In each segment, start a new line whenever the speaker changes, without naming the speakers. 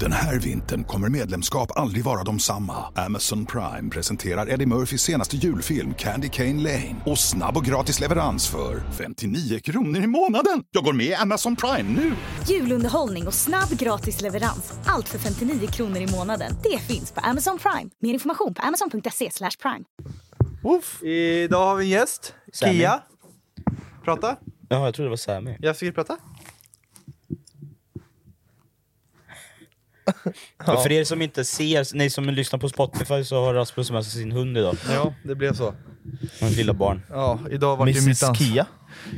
Den här vintern kommer medlemskap aldrig vara de samma. Amazon Prime presenterar Eddie Murphys senaste julfilm Candy Cane Lane. Och snabb och gratis leverans för 59 kronor i månaden. Jag går med i Amazon Prime nu!
Julunderhållning och snabb gratis leverans. Allt för 59 kronor i månaden. Det finns på Amazon Prime. Mer information på amazon.se slash prime.
Woof. Idag har vi en gäst.
Sammy.
Kia. Prata.
Ja, jag trodde det var Sammy.
Jag ska prata.
För er som inte ser, ni som lyssnar på Spotify så har Rasmus med sig sin hund idag.
Ja, det blev så.
Hans lilla barn.
Ja, idag vart ju mitt
Mrs
ansvar.
Kia?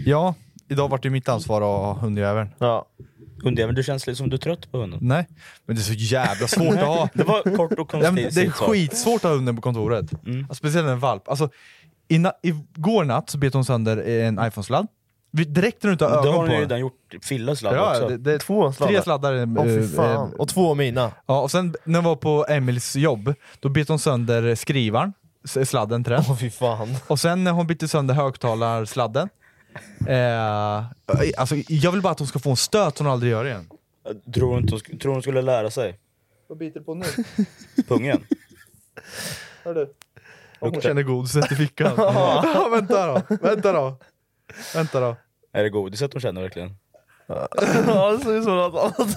Ja, idag vart det mitt ansvar att ha hundjäveln.
Ja.
Hundjäveln, du känns lite som du är trött på hunden.
Nej, men det är så jävla svårt att ha.
Det var kort och
Ja, men
koncist.
det är
Mm.
skitsvårt att ha hunden på kontoret. Alltså, Speciellt en valp. Alltså, inna, igår natt så bet hon sönder en iPhone-sladd. Vi- Direkt när du inte har
Det
ögon
har
på
ni
den.
redan gjort. Fillas ladd
Ja,
också.
det, det,
Två sladdar.
Tre sladdar. eh,
Åh fy
eh,
fan. Och två av mina.
Ja, och sen när jag var på Emils jobb, då bet hon sönder skrivaren, s- sladden till den.
Åh fy fan.
Och sen när hon bytte sönder högtalarsladden. Eh, alltså, jag vill bara att hon ska få en stöt som hon aldrig gör igen.
Tror hon, inte hon, sk- tror hon skulle lära sig?
Vad biter på nu?
Pungen?
Hör du? Hon känner godiset i fickan. ja, vänta då, vänta då. Vänta då.
Är det godiset hon känner verkligen?
Ja, det ser ut som något annat.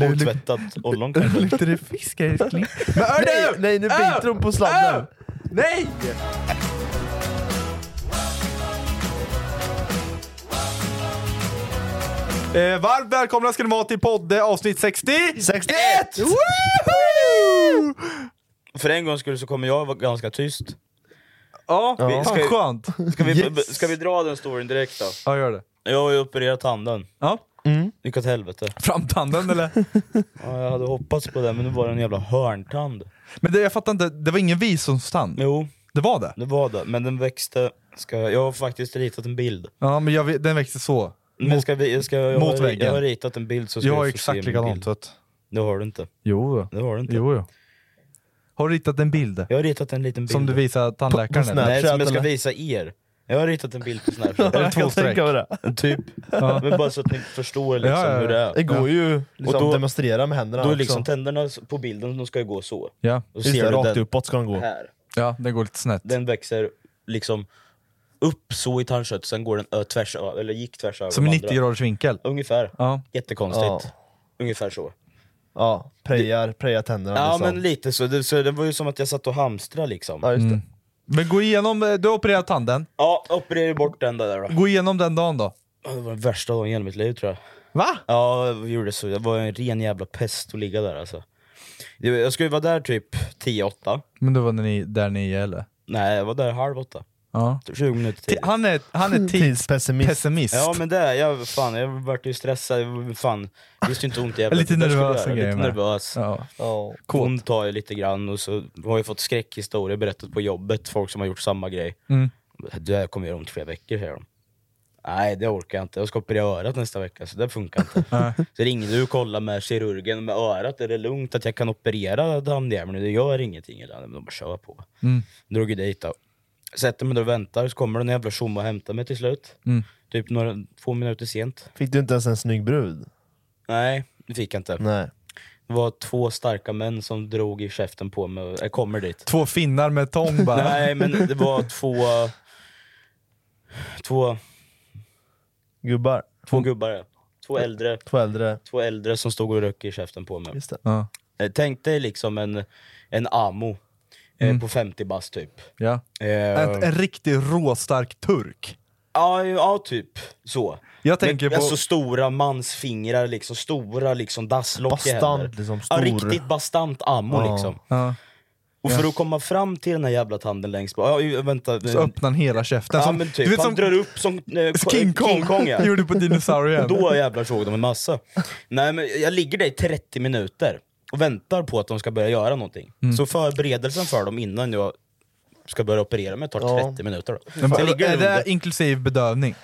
Borttvättat ollon kanske?
Luktar det fisk älskling?
Nej, nej, nu biter hon på sladden.
Nej! Eh, varmt välkomna ska ni vara till podd eh, avsnitt 60!
61!
Woho!
För en gångs skull så kommer jag vara ganska tyst.
Ja,
Ja.
fan skönt!
Ska vi,
Yes.
b- ska vi dra den storyn direkt då?
Ja, gör det.
Jag har ju opererat tanden.
Ja.
Gick åt helvete.
Framtanden eller?
Ja, jag hade hoppats på det, men nu var det en jävla hörntand.
Men det, jag fattar inte, det var ingen visdomstand?
Jo,
Det var det?
det var det. Men den växte... Ska jag, jag har faktiskt ritat en bild.
Ja, men jag, vet- den växte så.
Men ska vi, ska jag,
mot
jag, har, jag
väggen.
har ritat en bild så ska
Jag har
du få se
exakt
min
likadant.
bild.
så att-
Det har du inte.
Jo, då.
Det har du inte.
jo, jo. Har du ritat en bild?
Jag har ritat en liten bild.
Som du visar tandläkaren?
På- på
eller?
Snap.
Nej, som jag ska
eller?
visa er. Jag har ritat en bild på Snapchat.
Är det två
Jag kan
streck?
tänka mig det.
typ. Men bara så att ni förstår liksom
Ja, ja, ja.
hur det är.
Det går ju liksom
Och då-
demonstrera med händerna
Då är
också.
liksom tänderna s- på bilden, de ska ju gå så.
Ja.
Då
Just det,
du
rakt
den
uppåt ska de gå.
här.
ja, den går lite snett.
Den växer liksom upp så i tandköttet, sen går den ö, tvärs ö- eller gick tvärs över
Som i
de
90
andra.
graders vinkel.
Ungefär.
Ja.
Jättekonstigt.
Ja.
Ungefär så.
Ja, prejar, prejar tänderna
Ja
liksom.
men lite så. Det, så det var ju som att jag satt och hamstra liksom.
Ja, just det.
Mm. Men gå igenom, eh, du har opererat tanden.
Ja, opererade bort den där då.
Gå igenom den dagen då.
Ja, Det var den värsta dagen i hela mitt liv tror jag.
Va?
Ja, jag gjorde så. Det var en ren jävla pest att ligga där alltså. Det- Jag skulle vara där typ 10-8.
Men då var ni där nio eller?
Nej, jag var där halv åtta.
Ja.
Typ 20 minuter
Ti-
till.
Han är, han är
Tidspessimist.
tidspessimist.
Ja men det, jag, fan, jag vart ju stressad, jag var- fan, visste ju inte ont i jävla
Lite
det där skulle
nervös
jag göra.
och grejer
Lite
med.
nervös.
Ja.
Ja.
Kåt.
Ont har jag lite grann och så har jag fått skräckhistorier berättat på jobbet, folk som har gjort samma grej.
Mm.
Det här kommer göra ont i flera veckor säger de. Nej det orkar jag inte, jag ska operera örat nästa vecka så det funkar inte. så ringde du och kollade med kirurgen med örat, är det lugnt att jag kan operera dammjäveln? Det gör ingenting. Eller? Men de bara kör på.
Mm.
Drog ju dit då. Sätter mig där och väntar, så kommer den jävla tjomme och hämtar mig till slut.
Mm.
Typ några, två minuter sent.
Fick du inte ens en snygg brud?
Nej, det fick jag inte.
Nej.
Det var två starka män som drog i käften på mig. Jag kommer dit.
Två finnar med tång bara.
Nej, men det var två... Två,
Gubbar?
två gubbar, ja. två äldre,
Två äldre?
två äldre som stod och rökte i käften på mig.
Just det.
Ja.
Eh, Tänk dig liksom en, en Amo eh, på 50 bast typ.
Mm. Ja.
Eh,
En, en riktig råstark turk.
ja, ja, typ så.
Jag tänker
Men,
på...
Alltså stora mansfingrar, liksom, stora liksom dasslock i
Bastant,
händer.
liksom,
ja,
stor.
Riktigt bastant Amo
Ja.
liksom.
ja.
Och för att komma fram till den här jävla tanden längst bak, ja, ju- vänta. eh,
Så öppnar han hela käften.
ja,
som,
men typ,
du vet,
han
som
drar upp som eh,
King Kong,
King Kong ja.
gjorde på dinosaurien.
Då jävlar såg de en massa. Nej men jag ligger där i 30 minuter och väntar på att de ska börja göra någonting.
Mm.
Så förberedelsen för dem innan jag ska börja operera mig tar 30
Ja.
minuter. Då. Så
Men,
jag ligger
är
där
det
under.
inklusive bedövning?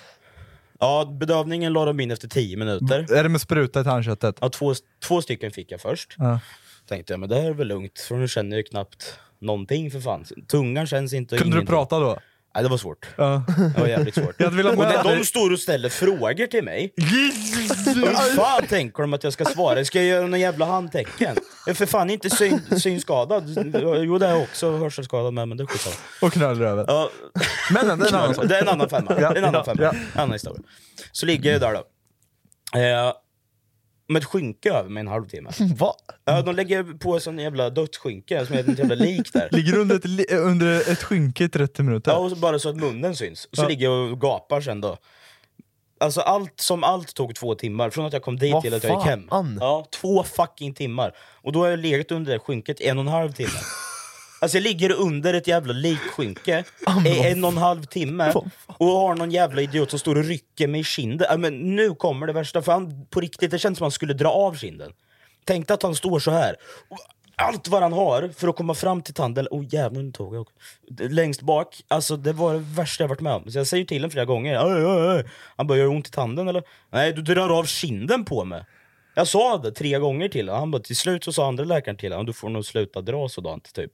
Ja, bedövningen la de in efter 10 minuter.
Mm. Är det med spruta i tandköttet?
Ja, två, två stycken fick jag först.
Ja.
Tänkte jag, men det här är väl lugnt, för nu känner jag ju knappt någonting för fan. Tungan känns inte.
Kunde du
ingenting.
prata då?
Nej, det var svårt.
Ja.
Det var jävligt svårt.
Jag hade velat
och
med
när
dig.
de står och ställer frågor till mig, hur fan tänker de att jag ska svara? Ska jag göra några jävla handtecken? Jag är för fan inte syn, synskadad. Jo det är jag också, hörselskadad med, men det är skitsamma.
Och knölröven?
Ja,
Men det är en annan sak.
det är en annan femma. Det är en
Ja,
annan femma.
ja.
En annan historia. Så ligger jag där då. Eh, med ett skynke över mig en halvtimme.
Va?
Ja, de lägger på sån jävla dött skynke som är ett jävla lik där.
Ligger du under ett, li- under ett skynke i 30 minuter?
Ja, och så bara så att munnen syns. Och så ligger jag och gapar sen då. Alltså allt som allt tog två timmar, från att jag kom dit
Vad
till att jag gick hem.
fan?
Ja, två fucking timmar. Och då har jag legat under det skynket i en och en halv timme. Alltså jag ligger under ett jävla likskynke i en och en halv timme och har någon jävla idiot som står och rycker mig i kinden. Ja, men nu kommer det värsta, för han, på riktigt, det känns som att han skulle dra av kinden. Tänkte att han står så här. Och Allt vad han har för att komma fram till tanden, oh jävlar nu tog jag också. Längst bak, alltså det var det värsta jag varit med om. Så jag säger till honom flera gånger, "Aj, aj, aj." han börjar ont i tanden eller? Nej du drar av kinden på mig. Jag sa det tre gånger till honom, han bara till slut så sa andra läkaren till honom, du får nog sluta dra sådant typ.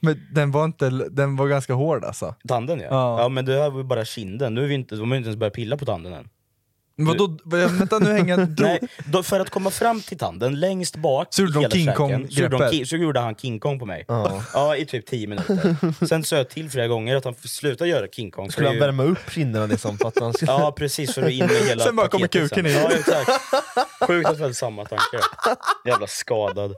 Men den var, inte, den var ganska hård alltså.
Tanden ja.
Ja.
ja. men det här var ju bara kinden. Nu är vi inte, de har ju inte ens börjat pilla på tanden än.
Vadå, vänta nu hänger jag...
Nej, då, för att komma fram till tanden, längst bak
Så
i
gjorde de
hela
King
käken, så, gjorde de,
Kong-greppet?
Ki- så gjorde han King Kong på mig. Ja, i typ 10 minuter. Sen sa jag till flera gånger att han får sluta göra King Kong. för
Skulle
det är
han
ju-
värma upp kinderna liksom? För att han skulle...
Ja, precis. För att in med hela
Sen bara kommer
paketet
kuken
sen.
in.
Ja, exakt. Sjukt att vi hade samma tankar. Jävla skadad.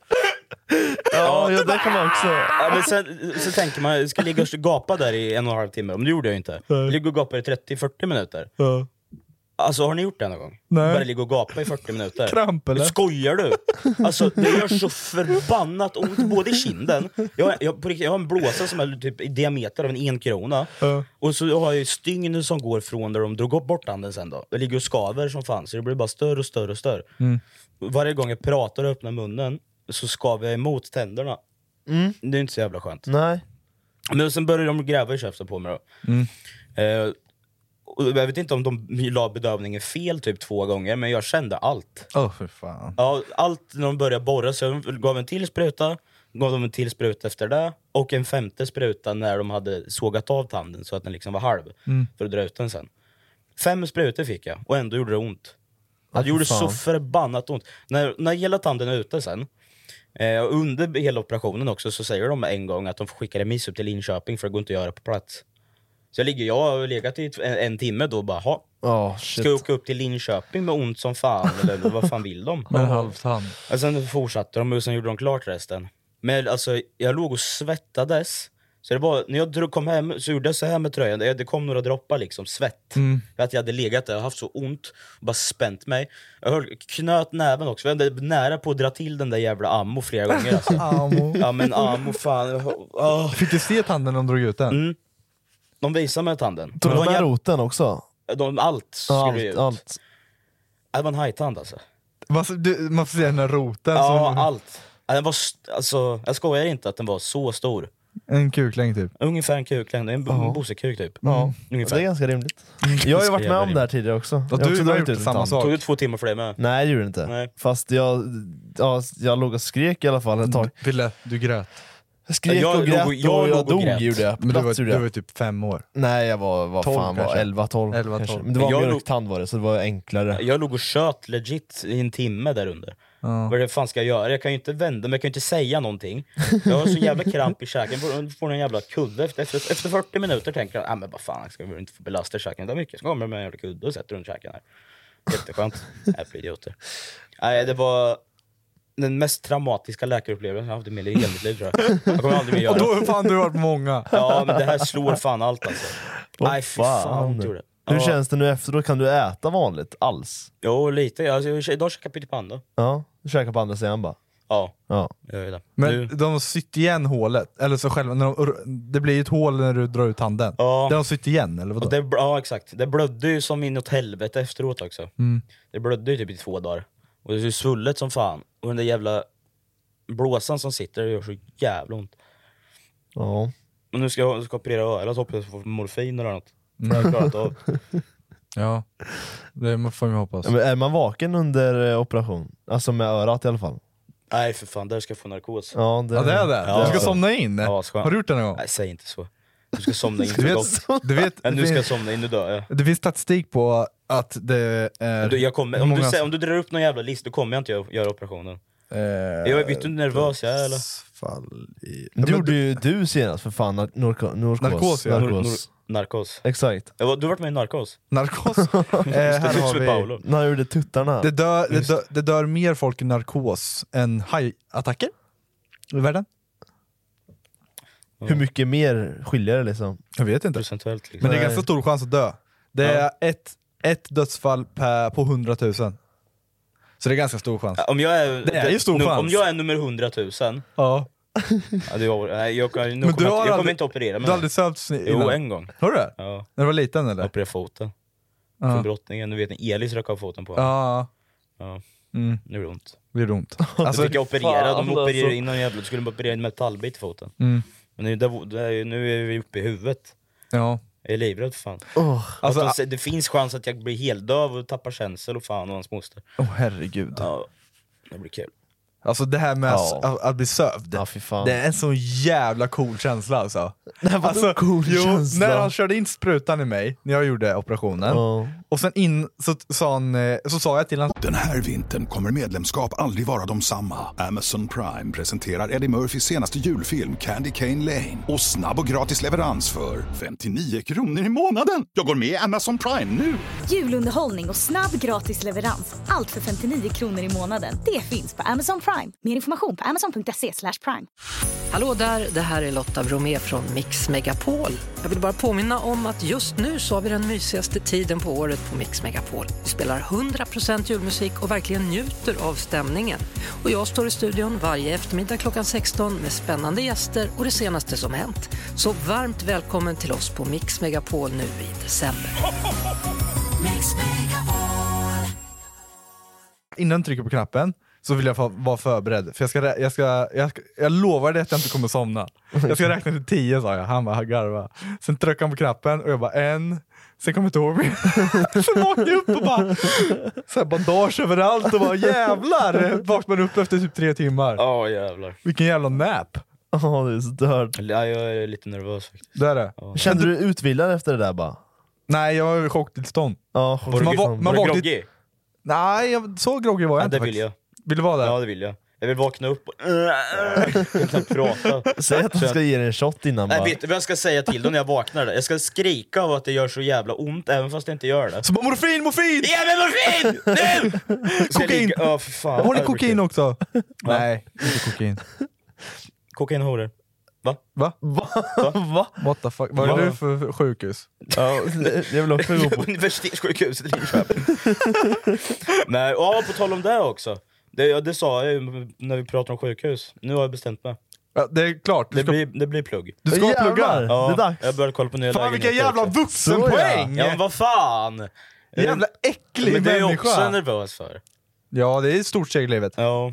ja, ja, det kan man också.
Ja, men sen, så tänker man, jag ska ligga och gapa där i en och en halv timme. Men det gjorde jag inte. Jag ligger och gapar i 30-40 minuter.
Ja.
Alltså har ni gjort det någon gång?
Nej.
Bara ligga och gapa i 40 minuter?
Kramp, eller?
Skojar du? Alltså det gör så förbannat ont, både i kinden, jag, jag, på riktigt, jag har en blåsa som är typ i diameter av en enkrona,
Ja.
och så har jag ju stygn som går från där de drog bort handen sen då. Jag ligger och skaver som fan, så det blir bara större och större och större.
Mm.
Varje gång jag pratar och öppnar munnen så skaver jag emot tänderna. Det är inte så jävla skönt.
Nej.
Men sen började de gräva i käften på mig då.
Mm.
Eh, och jag vet inte om de la bedövningen fel typ två gånger, men jag kände allt.
Åh för fan.
Ja, allt när de började borra, så jag gav en till spruta, gav dem en till spruta efter det, och en femte spruta när de hade sågat av tanden så att den liksom var halv, för att dra ut den sen. Fem sprutor fick jag, och ändå gjorde det ont.
Ja,
Det gjorde
för
så
fan.
förbannat ont. När, när hela tanden är ute sen, eh, och under hela operationen också, så säger de en gång att de får skicka remiss upp till Linköping för det går inte att göra på plats. Så jag ligger, jag har legat i ett- en, en timme då och bara, ha,
Ja,
ska
shit.
jag åka upp till Linköping med ont som fan, eller vad fan vill de?
Med en halv tand.
Och sen fortsatte de och sen gjorde de klart resten. Men alltså, jag låg och svettades. Så det var, när jag drog- kom hem så gjorde jag så här med tröjan, det det kom några droppar liksom, svett.
Mm.
För att jag hade legat där och haft så ont, och bara spänt mig. Jag höll, knöt näven också, jag var nära på att dra till den där jävla ammo flera gånger alltså.
Amo.
Ja men ammo fan, oh.
Fick du se tanden när de drog ut den?
De visade mig tanden.
Tog
Det
de
var en
med
jäv-
roten också?
de, allt skulle ju
Allt,
ut.
allt.
Det var en hajtand alltså.
Man, du, man får se den här roten.
Ja,
som,
allt. Ja, Den var, st- alltså, jag skojar inte att den var så stor.
En kuklängd typ.
Ungefär en kuklängd, en
Ja. Mm.
oh. bosekuk typ.
Ja,
Ungefär. Mm.
det är ganska rimligt. Jag har ju varit med om
rimligt.
det här tidigare också. Jag
du
har också
har
dragit
gjort
ut en
samma
tand.
sak.
Tog det två timmar för dig med?
Nej, det gjorde det inte.
Nej.
Fast jag, ja, jag låg och skrek i alla fall ett tag.
Ville, du grät.
Jag skrek
Jag
och grät
låg- jag
och
låg
jag
och
dog
grät.
gjorde jag.
Men du
Plats
var,
gjorde
du
jag.
var typ fem år.
Nej, jag var, vad
12
fan var
kanske.
11-12
11,
kanske.
12.
Men det var
Jag låg-
mjölktand var det, så det var enklare.
Jag låg och tjöt legit i en timme där under. Vad är det fan ska jag göra? Jag kan ju inte vända mig, jag kan ju inte säga någonting. Jag har så jävla kramp i käken, får, får en jävla kudde. Efter, efter, efter 40 minuter tänker jag, ah, men vad fan, ska vi inte få belasta käken där mycket? Så kommer jag med en jävla kudde och sätter runt käken här. Jätteskönt. Äppelidioter. Nej, det var den mest traumatiska läkarupplevelsen jag haft i hela mitt liv tror jag. Jag kommer aldrig mer göra
Och
det.
då fan du har varit många.
Ja, men det här slår fan allt alltså.
Vad
Nej, fy fan, vad ont det gjorde.
Hur
Ja.
känns det nu efteråt? Kan du äta vanligt alls?
Jo, lite. Alltså, jag- idag käkade jag pyttipanna.
Ja, du käkar på andra sidan bara.
Ja,
Ja.
jag gör det.
Men
Du-
de sytt igen hålet, eller så själva, när de, det blir ju ett hål när du drar ut handen.
Ja.
Där de sytt igen, eller vadå?
Och det, ja exakt, det blödde ju som inåt helvete efteråt också.
Mm.
Det blödde ju typ i två dagar. Och det är ju svullet som fan. Och den där jävla blåsan som sitter det gör så jävla ont.
ja.
Och nu ska jag, ska jag operera örat hoppas jag får morfin eller något. Det har jag klarat av.
Mm. Ja, det får man hoppas.
Ja, Men är man vaken under eh, operation? Alltså med örat i alla fall?
Nej för fan, där ska jag få narkos.
Ja,
Ja det är det.
Ja.
Du ska somna in.
Ja, skönt.
Har du gjort det någon gång?
Nej säg inte så. Du ska somna in
Du
för
vet,
gott.
du vet,
Nej, nu ska
det,
jag somna in, nu dör jag.
det finns statistik på att det är...
Du, jag kommer, om,
många
du, säger- om du drar upp någon jävla list, då kommer jag inte göra, göra operationen.
eh,
Jag vet du hur nervös jag är eller?
dödsfall i...
Det gjorde
du,
ju du senast för fan, nar- norko- norkos.
Narkos, ja.
Narkos.
Narkos.
Exakt.
Jag var- Du har varit med i Narkos?
narkos. eh, här
Just
har
med
vi.
Paolo.
När jag gjorde tuttarna.
Det dör, det, dör, det dör mer folk i narkos än hajattacker i världen.
Hur mycket mer skiljer det liksom?
Jag vet inte.
Procentuellt liksom.
Men det är
Nej.
ganska stor chans att dö. Det är ett, ett dödsfall per, på 100 000. Så det är ganska stor chans.
Ja, Om jag är,
Det är ju stor
nu,
chans.
Om jag är nummer 100 000, ja,
Ja.
det är, nej, jag, kan- nu
Men
kommer
du
jag,
har
inte- jag kommer
aldrig-
inte operera
Du
mig.
har aldrig sövts innan?
Jo, en gång.
Har du det?
Ja,
När du var liten eller?
jag opererade foten. Från brottningen. Nu vet ni, Elis rök av foten på honom.
Ja,
Ja.
Mm.
Nu är det ont.
det blir ont.
Alltså,
Alltså,
fick jag operera,
fan,
de opererade
alltså.
in någon jävla, skulle de operera in en metallbit i foten.
Mm.
Men nu, där, där, är ju- nu är vi uppe i huvudet.
ja.
Jag är livrädd för fan.
Alltså,
att de, sä- det finns chans att jag blir heldöv och tappar känsel och fan och hans moster.
Åh herregud.
Ja, det blir kul.
Alltså det här med
Ja.
att, att bli sövd,
Ja, fy fan.
det är en sån jävla cool känsla alltså.
Nej, vadå
alltså
cool
jo,
känsla?
När han körde in sprutan i mig, när jag gjorde operationen,
Ja.
och sen in, så, sa han, eh, så sa jag till honom
Den här vintern kommer medlemskap aldrig vara de samma. Amazon Prime presenterar Eddie Murphys senaste julfilm Candy Cane Lane. Och snabb och gratis leverans för 59 kronor i månaden. Jag går med i Amazon Prime nu!
Julunderhållning och snabb gratis leverans. Allt för 59 kronor i månaden. Det finns på Amazon Prime. Mer information på amazon.se slash prime.
Hallå där, det här är Lotta Bromé från Mix Megapol. Jag vill bara påminna om att just nu så har vi den mysigaste tiden på året på Mix Megapol. Vi spelar 100% julmusik och verkligen njuter av stämningen. Och jag står i studion varje eftermiddag klockan 16 med spännande gäster och det senaste som hänt. Så varmt välkommen till oss på Mix Megapol nu i december.
innan du trycker på knappen, så vill jag fa- vara förberedd. För jag, ska, rä- jag, ska, jag, ska, jag lovar dig att jag inte kommer somna. Jag ska räkna till tio sa jag, han bara garva. Sen tryckte han på knappen och jag bara en, sen kommer jag inte ihåg mer. Sen vaknade jag upp och bara, så här bandage överallt och bara jävlar! Vaknade upp efter typ tre timmar.
Ja jävlar.
Vilken jävla nap!
Ja, det är stört.
Ja, jag är lite nervös faktiskt.
Det är det.
Kände du dig utvilad efter det där bara?
Nej, jag var i chocktillstånd.
Ja,
du-
man,
man- man-
Var du
vaknade-
groggy?
Nej, jag, så groggy var jag
Ja,
inte
det vill jag.
Vill du vara där?
Ja, det vill jag. Jag vill vakna upp och... Jag kan knappt prata.
Säg att du ska ge dig en shot innan
Nej,
bara.
vet du vad jag ska säga till dem när jag vaknar? där? Jag ska skrika av att det gör så jävla ont, även fast det inte gör det.
Så bara morfin, morfin!
Ge mig morfin! Nu! Ska jag
Kokain.
ligga- Ja, för fan.
Har ni
Ja, det blir
kokain
kul.
också? Nej, inte kokain.
Kokain och horor. Va?
Va?
Va?
What the fuck? Vad
Va?
är du för sjukhus?
Ja, jag vill också gå på.
Universitetssjukhuset i Linköping. Nej, ja, på tal om det också. Det, ja, det sa jag ju när vi pratade om sjukhus. Nu har jag bestämt mig.
Ja, det är klart, du
Det
ska,
blir, det blir plugg.
du ska
Jävlar!
plugga!
Ja,
Det är dags.
Jag började kolla på nya
Fan vilka
lägenheter
jävla
också.
vuxenpoäng!
Ja men vad fan!
Jävla äcklig
men det är jag också
människa!
nervös för.
Ja, det är ett stort steg i livet.
Ja.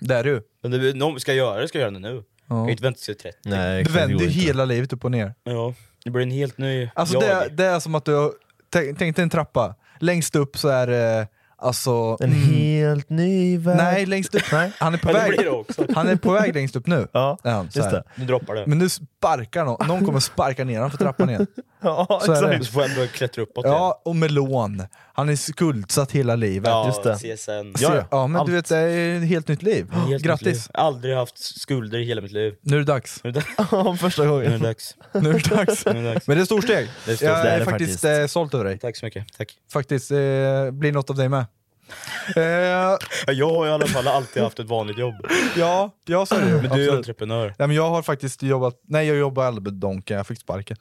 Det är du.
Men det, någon ska göra det, ska göra det nu. Jag kan ju inte vänta tills jag är 30.
Nej,
Du vänder ju hela livet upp och ner.
Ja, det blir en helt ny
Alltså
jag.
det, är- det är som att du har- tänk, tänk dig en trappa, längst upp så är det alltså...
En helt ny värld.
Nej, längst upp.
Nej.
Han är på
Ja, det
väg.
blir det också.
Han är på väg längst upp nu.
Ja,
är han, så
just
här.
det.
Nu droppar det.
Men nu sparkar någon, någon kommer sparka ner honom för trappan igen.
Ja,
Så är det.
Så får jag börja klättra uppåt igen.
Ja, och med lån. Han är skuldsatt hela livet.
Ja,
just det.
CSN.
ja,
Ja,
ja.
ja.
men du vet, det är ett helt nytt liv.
Helt mitt
Grattis!
liv. Aldrig haft skulder i hela mitt liv.
Nu är det dags.
Nu är det-
Ja, första
nu är det
gången.
dags.
Nu är det dags.
Nu är det dags.
Men det är ett stort steg.
Det är ett stort
Jag
steg, det är
är
det
faktiskt
faktiskt.
eh, stolt över dig.
Tack så mycket. Tack.
Faktiskt, eh, blir något av dig med. Eh,
Ja, Jag har i alla fall alltid haft ett vanligt jobb.
ja, jag sa det ju.
Men du är
Absolut.
entreprenör.
Nej, men jag har faktiskt jobbat, nej jag jobbade aldrig med Donken, jag fick sparken.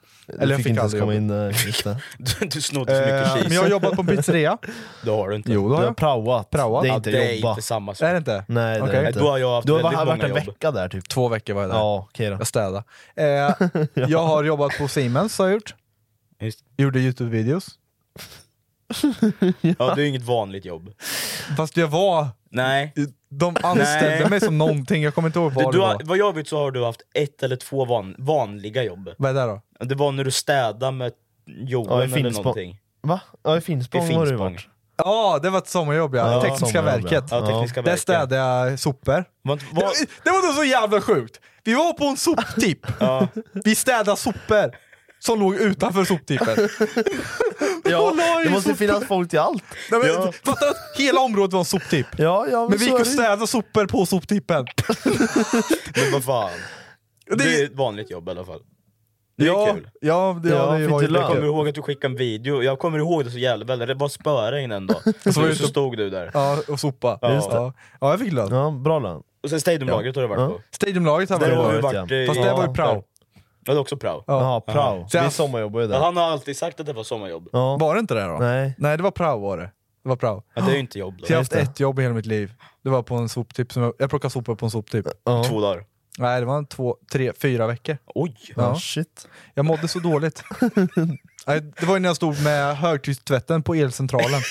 Du
Eller jag
fick
fick,
inte ens
aldrig
komma
jobba.
in. eh, Just det.
Du, du snodde för mycket
Eh,
cheese.
men jag har jobbat på en pizzeria.
Det har du inte.
jo, det
Du
har
har
jag.
praoat.
Praoat?
Det
Ja,
är inte
det är
jobba.
inte samma sak.
Är det inte?
Nej, det
Okej.
är inte.
Då har jag haft
du har
väldigt
bara varit
många
en
jobb.
vecka där typ.
Två veckor var jag där.
Ja, okej då.
Jag städade. Eh, Jag har jobbat på Siemens har jag gjort.
Just.
Gjorde Youtube-videos.
Ja, det är inget vanligt jobb.
Fast jag var...
Nej.
De anställde
Nej.
mig som någonting, jag kommer inte ihåg
Du,
vad
du
det
har,
var.
vad jag vet så har du haft ett eller två van, vanliga jobb.
Vad är det då?
Det var när du städade med
Ja, i
Johan eller
Finspång.
någonting.
Va? Ja, i
I
Finspång har du
Finspång.
varit.
Ja, det var ett sommarjobb ja.
Ja,
Tekniska
sommarjobb, ja.
verket.
Ja, Tekniska
Där
verket.
städade jag sopor.
Var inte-
Det
var-
var, det var nog så jävla sjukt! Vi var på en soptipp, vi städade sopor som låg utanför soptippen.
Ja,
Hon la ju
det måste ju
sopor.
finnas folk till allt.
Nej, men, Fattar du att hela området var en soptipp?
Ja, ja, men,
Men
så
vi gick
är
och
det ju.
städade sopor på soptippen.
Men vad fan.
Det-
Det är ett vanligt jobb i alla fall. Det är
ja,
kul.
Ja, det,
Ja,
ja, det
fick
var
du
ju
lön?
Jag kommer
kul.
ihåg att du skickade en video, jag kommer ihåg det så jävla väl, det var spöregn en dag.
var
Så,
det
så
så-
stod du där.
Ja, och sopa. Ja,
Just det.
ja. ja, jag fick lön.
Ja, bra lön.
Och sen Stadiumlagret har du varit
Ja.
på.
Stadiumlaget hade
Där
det
har
har du
varit.
varit,
varit
ja.
i-
Fast det var ju
ja,
prao.
där. Ja, det är också prao.
Ja.
Ja, prao.
Så
Det är
han-
sommarjobb ju
Ja,
där.
Han har alltid sagt att det var sommarjobb.
Ja.
Var det inte det då?
Nej.
Nej, det var prao var det. Det var prao.
Ja, det är ju inte jobb då.
Så jag har
just
haft ett jobb i hela mitt liv. Det var på en soptipp, som jag, jag plockade sopor på en soptipp.
Ja.
Två dagar.
Nej, det var en två, tre, fyra veckor.
Oj!
Ja,
Ja.
shit.
Jag mådde så dåligt. Nej, Det var ju när jag stod med högtryckstvätten på elcentralen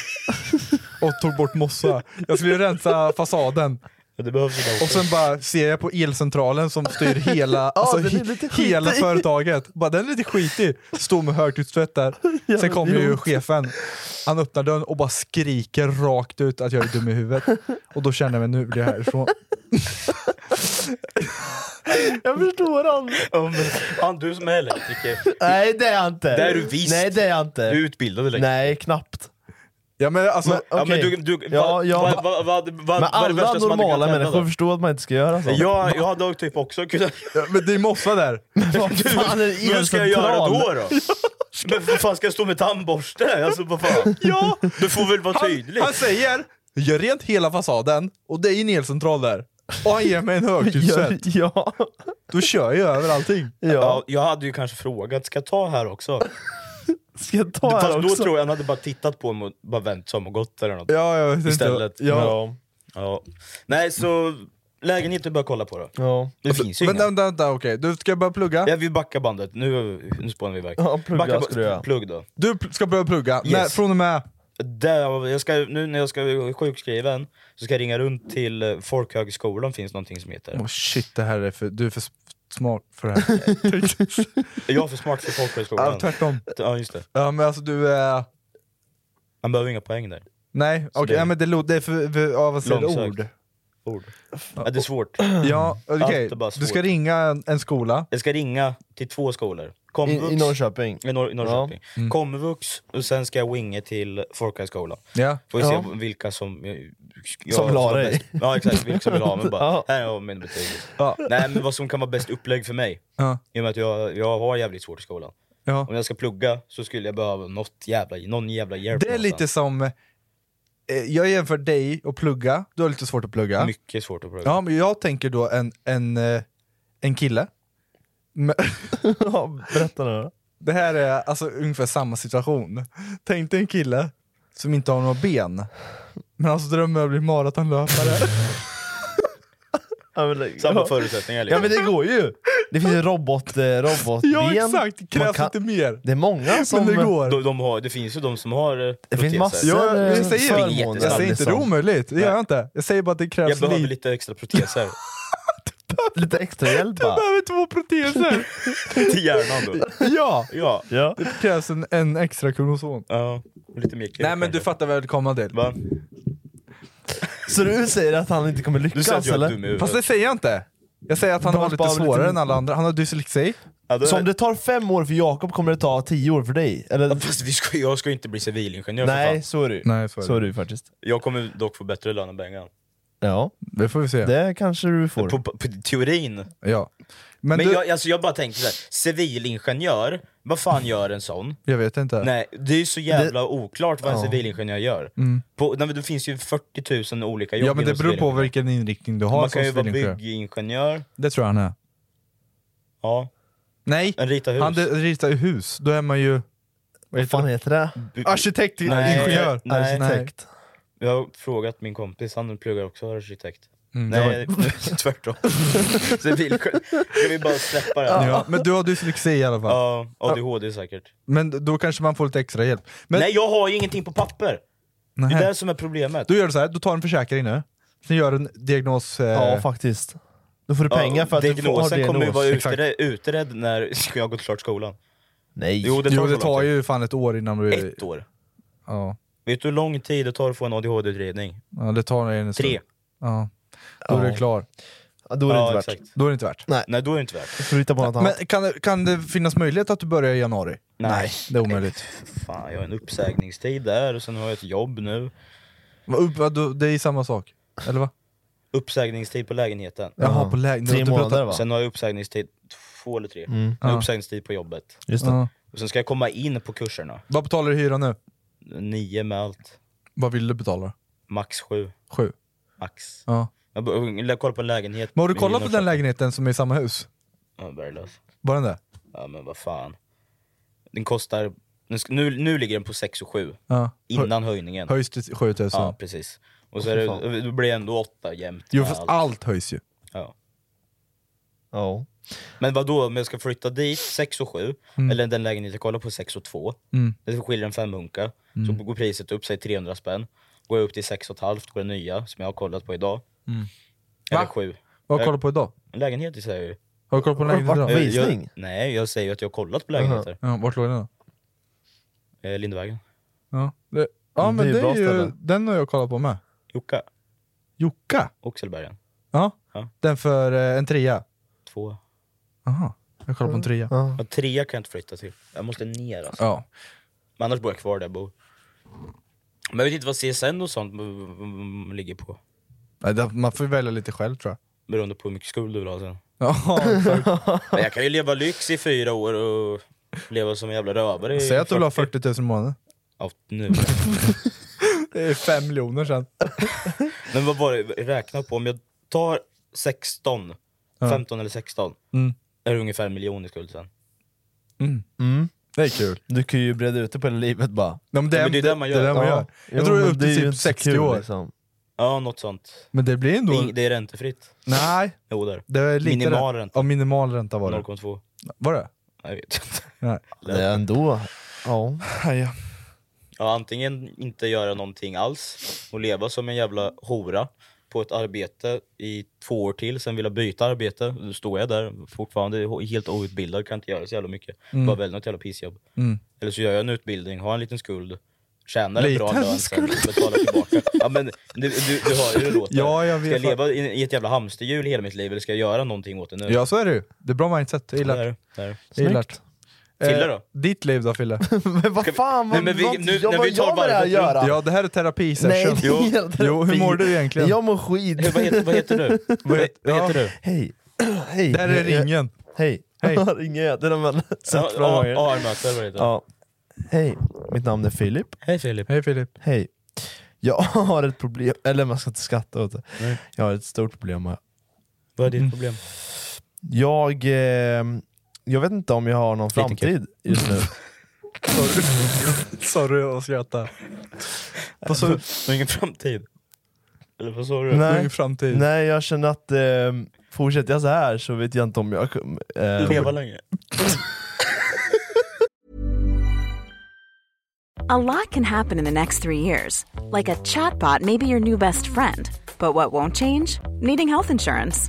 och tog bort mossa. Jag skulle rensa fasaden
Ja, det behövs ju
och sen bara ser jag på elcentralen som styr hela, alltså,
den är
he-
lite skitig.
hela företaget. Bara, den är lite skitig. Står med högtryckstvätt där. Sen kommer ju chefen. Han öppnar dörren och bara skriker rakt ut att jag är dum i huvudet. Och då känner jag mig nu blir jag härifrån.
Jag förstår han.
Han, du som är elektriker,
Nej, det är jag inte.
Det är du visst.
Nej, det är jag inte.
du är utbildad elektriker.
Nej, knappt.
Ja, men alltså,
Men,
Ja, men
okej.
du, du,
Ja,
vad,
ja.
vad, vad, vad, vad,
Men
vad är det
alla
värsta som hade kunnat
normala
hända
människor
då?
förstår att man inte ska göra så.
Jag, jag hade typ också kunnat...
ja, men det är mossa där.
Vad fan är det
Men Vad ska jag göra
elcentral?
då? då? Men vad fan ska jag stå med tandborste? Alltså vad fan?
Ja!
Du får väl vara
Han,
tydlig?
han säger Gör rent hela fasaden och det är ju en elcentral där. Och han ger mig en högtryckstvätt.
Gör- Ja.
Då kör jag över allting.
Ja,
ja.
jag hade ju kanske frågat, ska jag ta här också?
Ska jag ta här
Fast då
också?
tror jag han hade bara tittat på mig och bara vänt sig om och gått eller något.
Ja, jag vet inte.
Istället.
Ja.
Ja.
Ja. Nej, så lägenhet du bör kolla på då.
Ja.
Det finns ju
Men
ingen.
vänta, vänta, okej. Du ska börja plugga.
Jag vill backa bandet, nu, nu spånar vi iväg.
Ja, plugga
Backa ba-
skulle jag.
Plugg då.
Du pl- ska börja plugga.
Yes.
När, från och med...
Där, jag ska, nu när jag ska bli sjukskriven så ska jag ringa runt till eh, folkhögskolan, finns någonting som heter.
Oh shit, det här är för, du är för s- smart för det här.
Är Jag är för smart för
ja,
folkhögskolan.
tvärtom.
Ja, just det.
Ja, men alltså du är...
Man behöver inga poäng där.
Nej, okej.
det-
Ja, men det, lo- det är för... för ja, vad säger du?
Långsökt.
Ord.
Ord. Ja, det är svårt.
Ja, okej.
Allt är bara svårt.
Du ska ringa en, en skola.
Jag ska ringa till två skolor.
I,
Komvux,
I Norrköping.
i Nor- i Norrköping.
Mm.
Komvux, och sen ska jag winga till folkhögskolan.
Ja.
Får vi se
Ja.
vilka som... Jag,
Som vill ha
var
dig.
bäst- Ja exakt, vilka som vill ha mig bara.
Ja.
Här har min betyg.
Ja.
Nej men vad som kan vara bäst upplägg för mig,
Ja.
i och med att jag, jag har jävligt svårt i skolan.
ja.
Om jag ska plugga så skulle jag behöva något jävla, någon jävla hjälp.
Det är lite
någonstans.
som, eh, jag jämför dig och plugga, du har lite svårt att plugga.
Mycket svårt att plugga.
Ja, men jag tänker då en, en, eh, en kille. Men-
Ja, berätta nu då.
Det här är alltså ungefär samma situation. Tänk dig en kille som inte har några ben, men hans dröm är att bli maratonlöpare.
Ja, men det-
Samma
ja.
förutsättningar
Ja
liksom.
men det går ju! Det finns ju robot, eh, robotben.
ja exakt, det
Man
krävs
kan-
inte mer.
Det är många som...
men det går.
de, de har, det finns ju de som har eh,
Det finns
proteser.
massor
Ja, jag
eh,
säger-
förmåner.
Jag säger inte det är
liksom.
omöjligt, det gör jag inte. Jag säger bara att det
Jag
krävs
behöver
lite.
lite extra proteser.
lite extra hjälp
Du
bara.
behöver två proteser!
Till hjärnan då.
ja!
Ja.
Ja.
Det krävs en, en extra kromosom.
ja. Och Lite mer kul
Nej men
kanske.
du fattar vad jag vill komma till.
Va?
Så du säger att han inte kommer
Du säger att
lyckas
jag är
eller?
dum i huvudet.
Fast det säger jag inte. Jag säger att han
Bara
har lite
spara lite-
svårare än alla andra. Han har dyslexi.
Ja, då-
Så om det tar fem år för Jakob kommer det ta tio år för dig? Eller?
Fast vi ska, jag ska ju inte bli civilingenjör för
Nej,
fan.
så är det ju.
Nej, så är det.
Så är det ju faktiskt.
Jag kommer dock få bättre lön än Bengan.
Ja,
Det får vi se.
det kanske du får.
På, på, på teorin. Men,
Ja. Men, du, jag...
jag, alltså, jag bara tänker såhär, civilingenjör, vad fan gör en sån?
vet inte.
Nej, det är ju så jävla oklart vad en civilingenjör gör. På, nej, men det finns ju 40 000 olika jobb
Mm. Ja men det
inom
beror på
civilingenjör.
vilken inriktning du har
Man
som
kan ju vara
civilingenjör.
byggingenjör,
Det tror jag han är.
ja.
Nej!
En ritar hus.
Han de- ritar ju hus. Då är man ju...
Vad fan heter det?
Bu-
Arkitekt,
Nej.
ingenjör.
Nej.
Arkitekt.
Jag har frågat min kompis, han pluggar också arkitekt.
Mm, det
Nej, tvärtom. Civilkö- Ska vi bara släppa det? här?
Ja, men du har dyslexi i alla fall.
Ja, ADHD säkert.
Men då kanske man får lite extra hjälp. Men
Nej, jag har ju ingenting på papper! Det är
Nähä.
det som är problemet.
Då gör du så här, du tar en försäkring nu. Sen gör du en diagnos... Eh,
Ja, faktiskt. Då får du
Ja,
pengar för att du får, har
diagnosen kommer ju
diagnos.
vara
Exakt.
utredd, utredd när ska jag har gått klart skolan.
Nej.
Jo, det tar,
jo,
så
det
lång
tar
tid.
ju fan ett år innan du...
Ett år.
Ja,
Vet du hur lång tid det tar att få en ADHD-utredning?
ja det tar en stund.
Tre.
Ja. Då är
Ja.
det klar.
Ja, Då är det
Ja,
inte värt.
exakt.
Då är det inte värt.
Nej, då är det inte värt.
Då får du hitta på något annat.
Men kan, det- kan det finnas möjlighet att du börjar i januari?
Nej.
Det är omöjligt.
Fan, jag har en uppsägningstid där och sen har jag ett jobb nu.
Va, upp, va, du- det är samma sak? Eller va?
Uppsägningstid på lägenheten.
Jaha,
Ja.
på lägen...
Tre månader va? Mm.
Sen har jag uppsägningstid två eller tre. Jag har
Ja.
uppsägningstid på jobbet.
Just det.
Ja.
Och sen ska jag komma in på kurserna.
Vad betalar du i hyra nu?
Nio med allt.
Vad vill du betala?
Max sju.
Sju?
Max.
Ja.
Jag bör- kollar på en lägenhet.
Men har du
i
kollat på den
Norrköping.
lägenheten som är i samma hus?
Ja, värdelös.
Var den det?
Ja men vad fan. Den kostar, nu, ska- nu, nu ligger den på 6 och 7
Ja.
innan höjningen.
Höjs till 7000?
ja precis. Och så är det, då blir det ändå 8 jämt.
Jo
med
fast
allt.
allt höjs ju.
Ja.
Ja.
Men vad då om jag ska flytta dit 6 och 7 eller den lägenhet jag kollar på 6 och 2
Mm.
Det skiljer en femhunka, så går priset upp, säg 300 spänn. Går jag upp till 6 och ett halvt på den nya som jag har kollat på idag. Eller
Mm. Va?
7.
Vad har du kollat på idag?
En lägenhet i sig.
Har du kollat på en
Har du
lägenhet
varit
idag?
vid- Visning?
Jag, nej, jag säger ju att jag har kollat på lägenheter.
Ja, vart låg den då?
Eh, Lindvägen.
Ja, det, ja
Mm,
men
det är
det
bra
är ju,
ställe.
den har jag kollat på med.
Jocka.
Jokka?
Oxelbergen.
Ja.
Ja.
Den för eh, en trea?
Två.
Aha. jag kollar på en trea.
Ja.
Ja, trea kan jag inte flytta till. Jag måste ner alltså.
Ja.
Men annars bor jag kvar där jag bor. Men jag vet inte vad CSN och sånt mm, mm, ligger på.
Nej, det- Man får ju välja lite själv tror jag.
Beroende på hur mycket skuld du vill ha sen.
Ja, exakt.
Men jag kan ju leva lyx i fyra år och leva som en jävla rövare i
Säg att du vill ha 40 000 i månaden.
Ja, nu.
Det är 5 miljoner sen.
Men vad var det, räkna på om jag tar 16, 15 eller 16
Mm.
Är det ungefär en miljon i skuld sen?
Det är kul.
Mm. Du kan ju breda ut det på hela livet bara.
Ja, men det,
Ja, men
det är det man gör.
Ja.
Jag
Jo,
tror det är
men
upp
ju
till typ
inte så
60
kul,
år.
Liksom.
Ja, något sånt.
Men det blir
Det
ändå...
är, det är räntefritt.
Nej,
Jo, där.
det är lite...
Minimal ränta.
Ja, minimal ränta var det.
0,2.
Var det?
Jag vet inte.
Nej.
Det är ändå. Ja.
Ja.
Ja, antingen inte göra någonting alls och leva som en jävla hora på ett arbete i två år till, sen vilja byta arbete. Då står jag där fortfarande helt outbildad, kan inte göra så jävla mycket.
Mm.
Bara välja något jävla pissjobb. Eller så gör jag en utbildning, har en liten skuld, tjänar en
Liten
bra lön sen,
skuld.
betalar tillbaka. Ja, men du, du, du hör ju hur det låter.
Ja, jag
Ska jag
vet.
leva i, i ett jävla hamsterhjul hela mitt liv eller ska jag göra någonting åt det nu?
ja, så är det ju. Det är bra mindset. Jag gillar det.
Där, där.
Jag gillar
Snyggt.
det.
Fille
Eh,
då?
Ditt liv då Fille?
Men vad fan,
Nej,
vad,
men vi-
vad,
nu-
jag,
när
vad
vi tar
gör det här
varvet
att göra?
Ja, det här är terapisession.
Nej,
Jo.
helt
Jo, hur mår
fint.
du egentligen?
Jag mår skit.
Hur- Eh, Vad heter, vad heter du? Vad,
heter-
vad heter
ja.
du?
Hej. Hej.
Där är
Jag- jag-
ringen.
Hej.
Hej.
ringer jag? Den har man sett flera
Ja,
gånger.
ja, AR-möte eller vad heter det?
Ja. Hej, mitt namn är Filip.
Hej Filip.
Hej Filip.
Hej. Jag har ett problem, eller man ska inte skratta åt det. Jag har ett stort problem. här.
Vad är
Mm.
ditt problem?
Jag, eh, jag vet inte om jag har någon
Lite kul.
framtid just nu.
Sorry jag skrattar.
Vad sa du?
Du har ingen framtid? Eller vad sa du?
Du har
Nej.
ingen framtid.
Nej, jag känner att eh, fortsätter jag så här så vet jag inte om jag kommer... Eh,
Leva länge?
A lot can happen in the next three years. Like a chatbot may be your new best friend. But what won't change? Needing health insurance.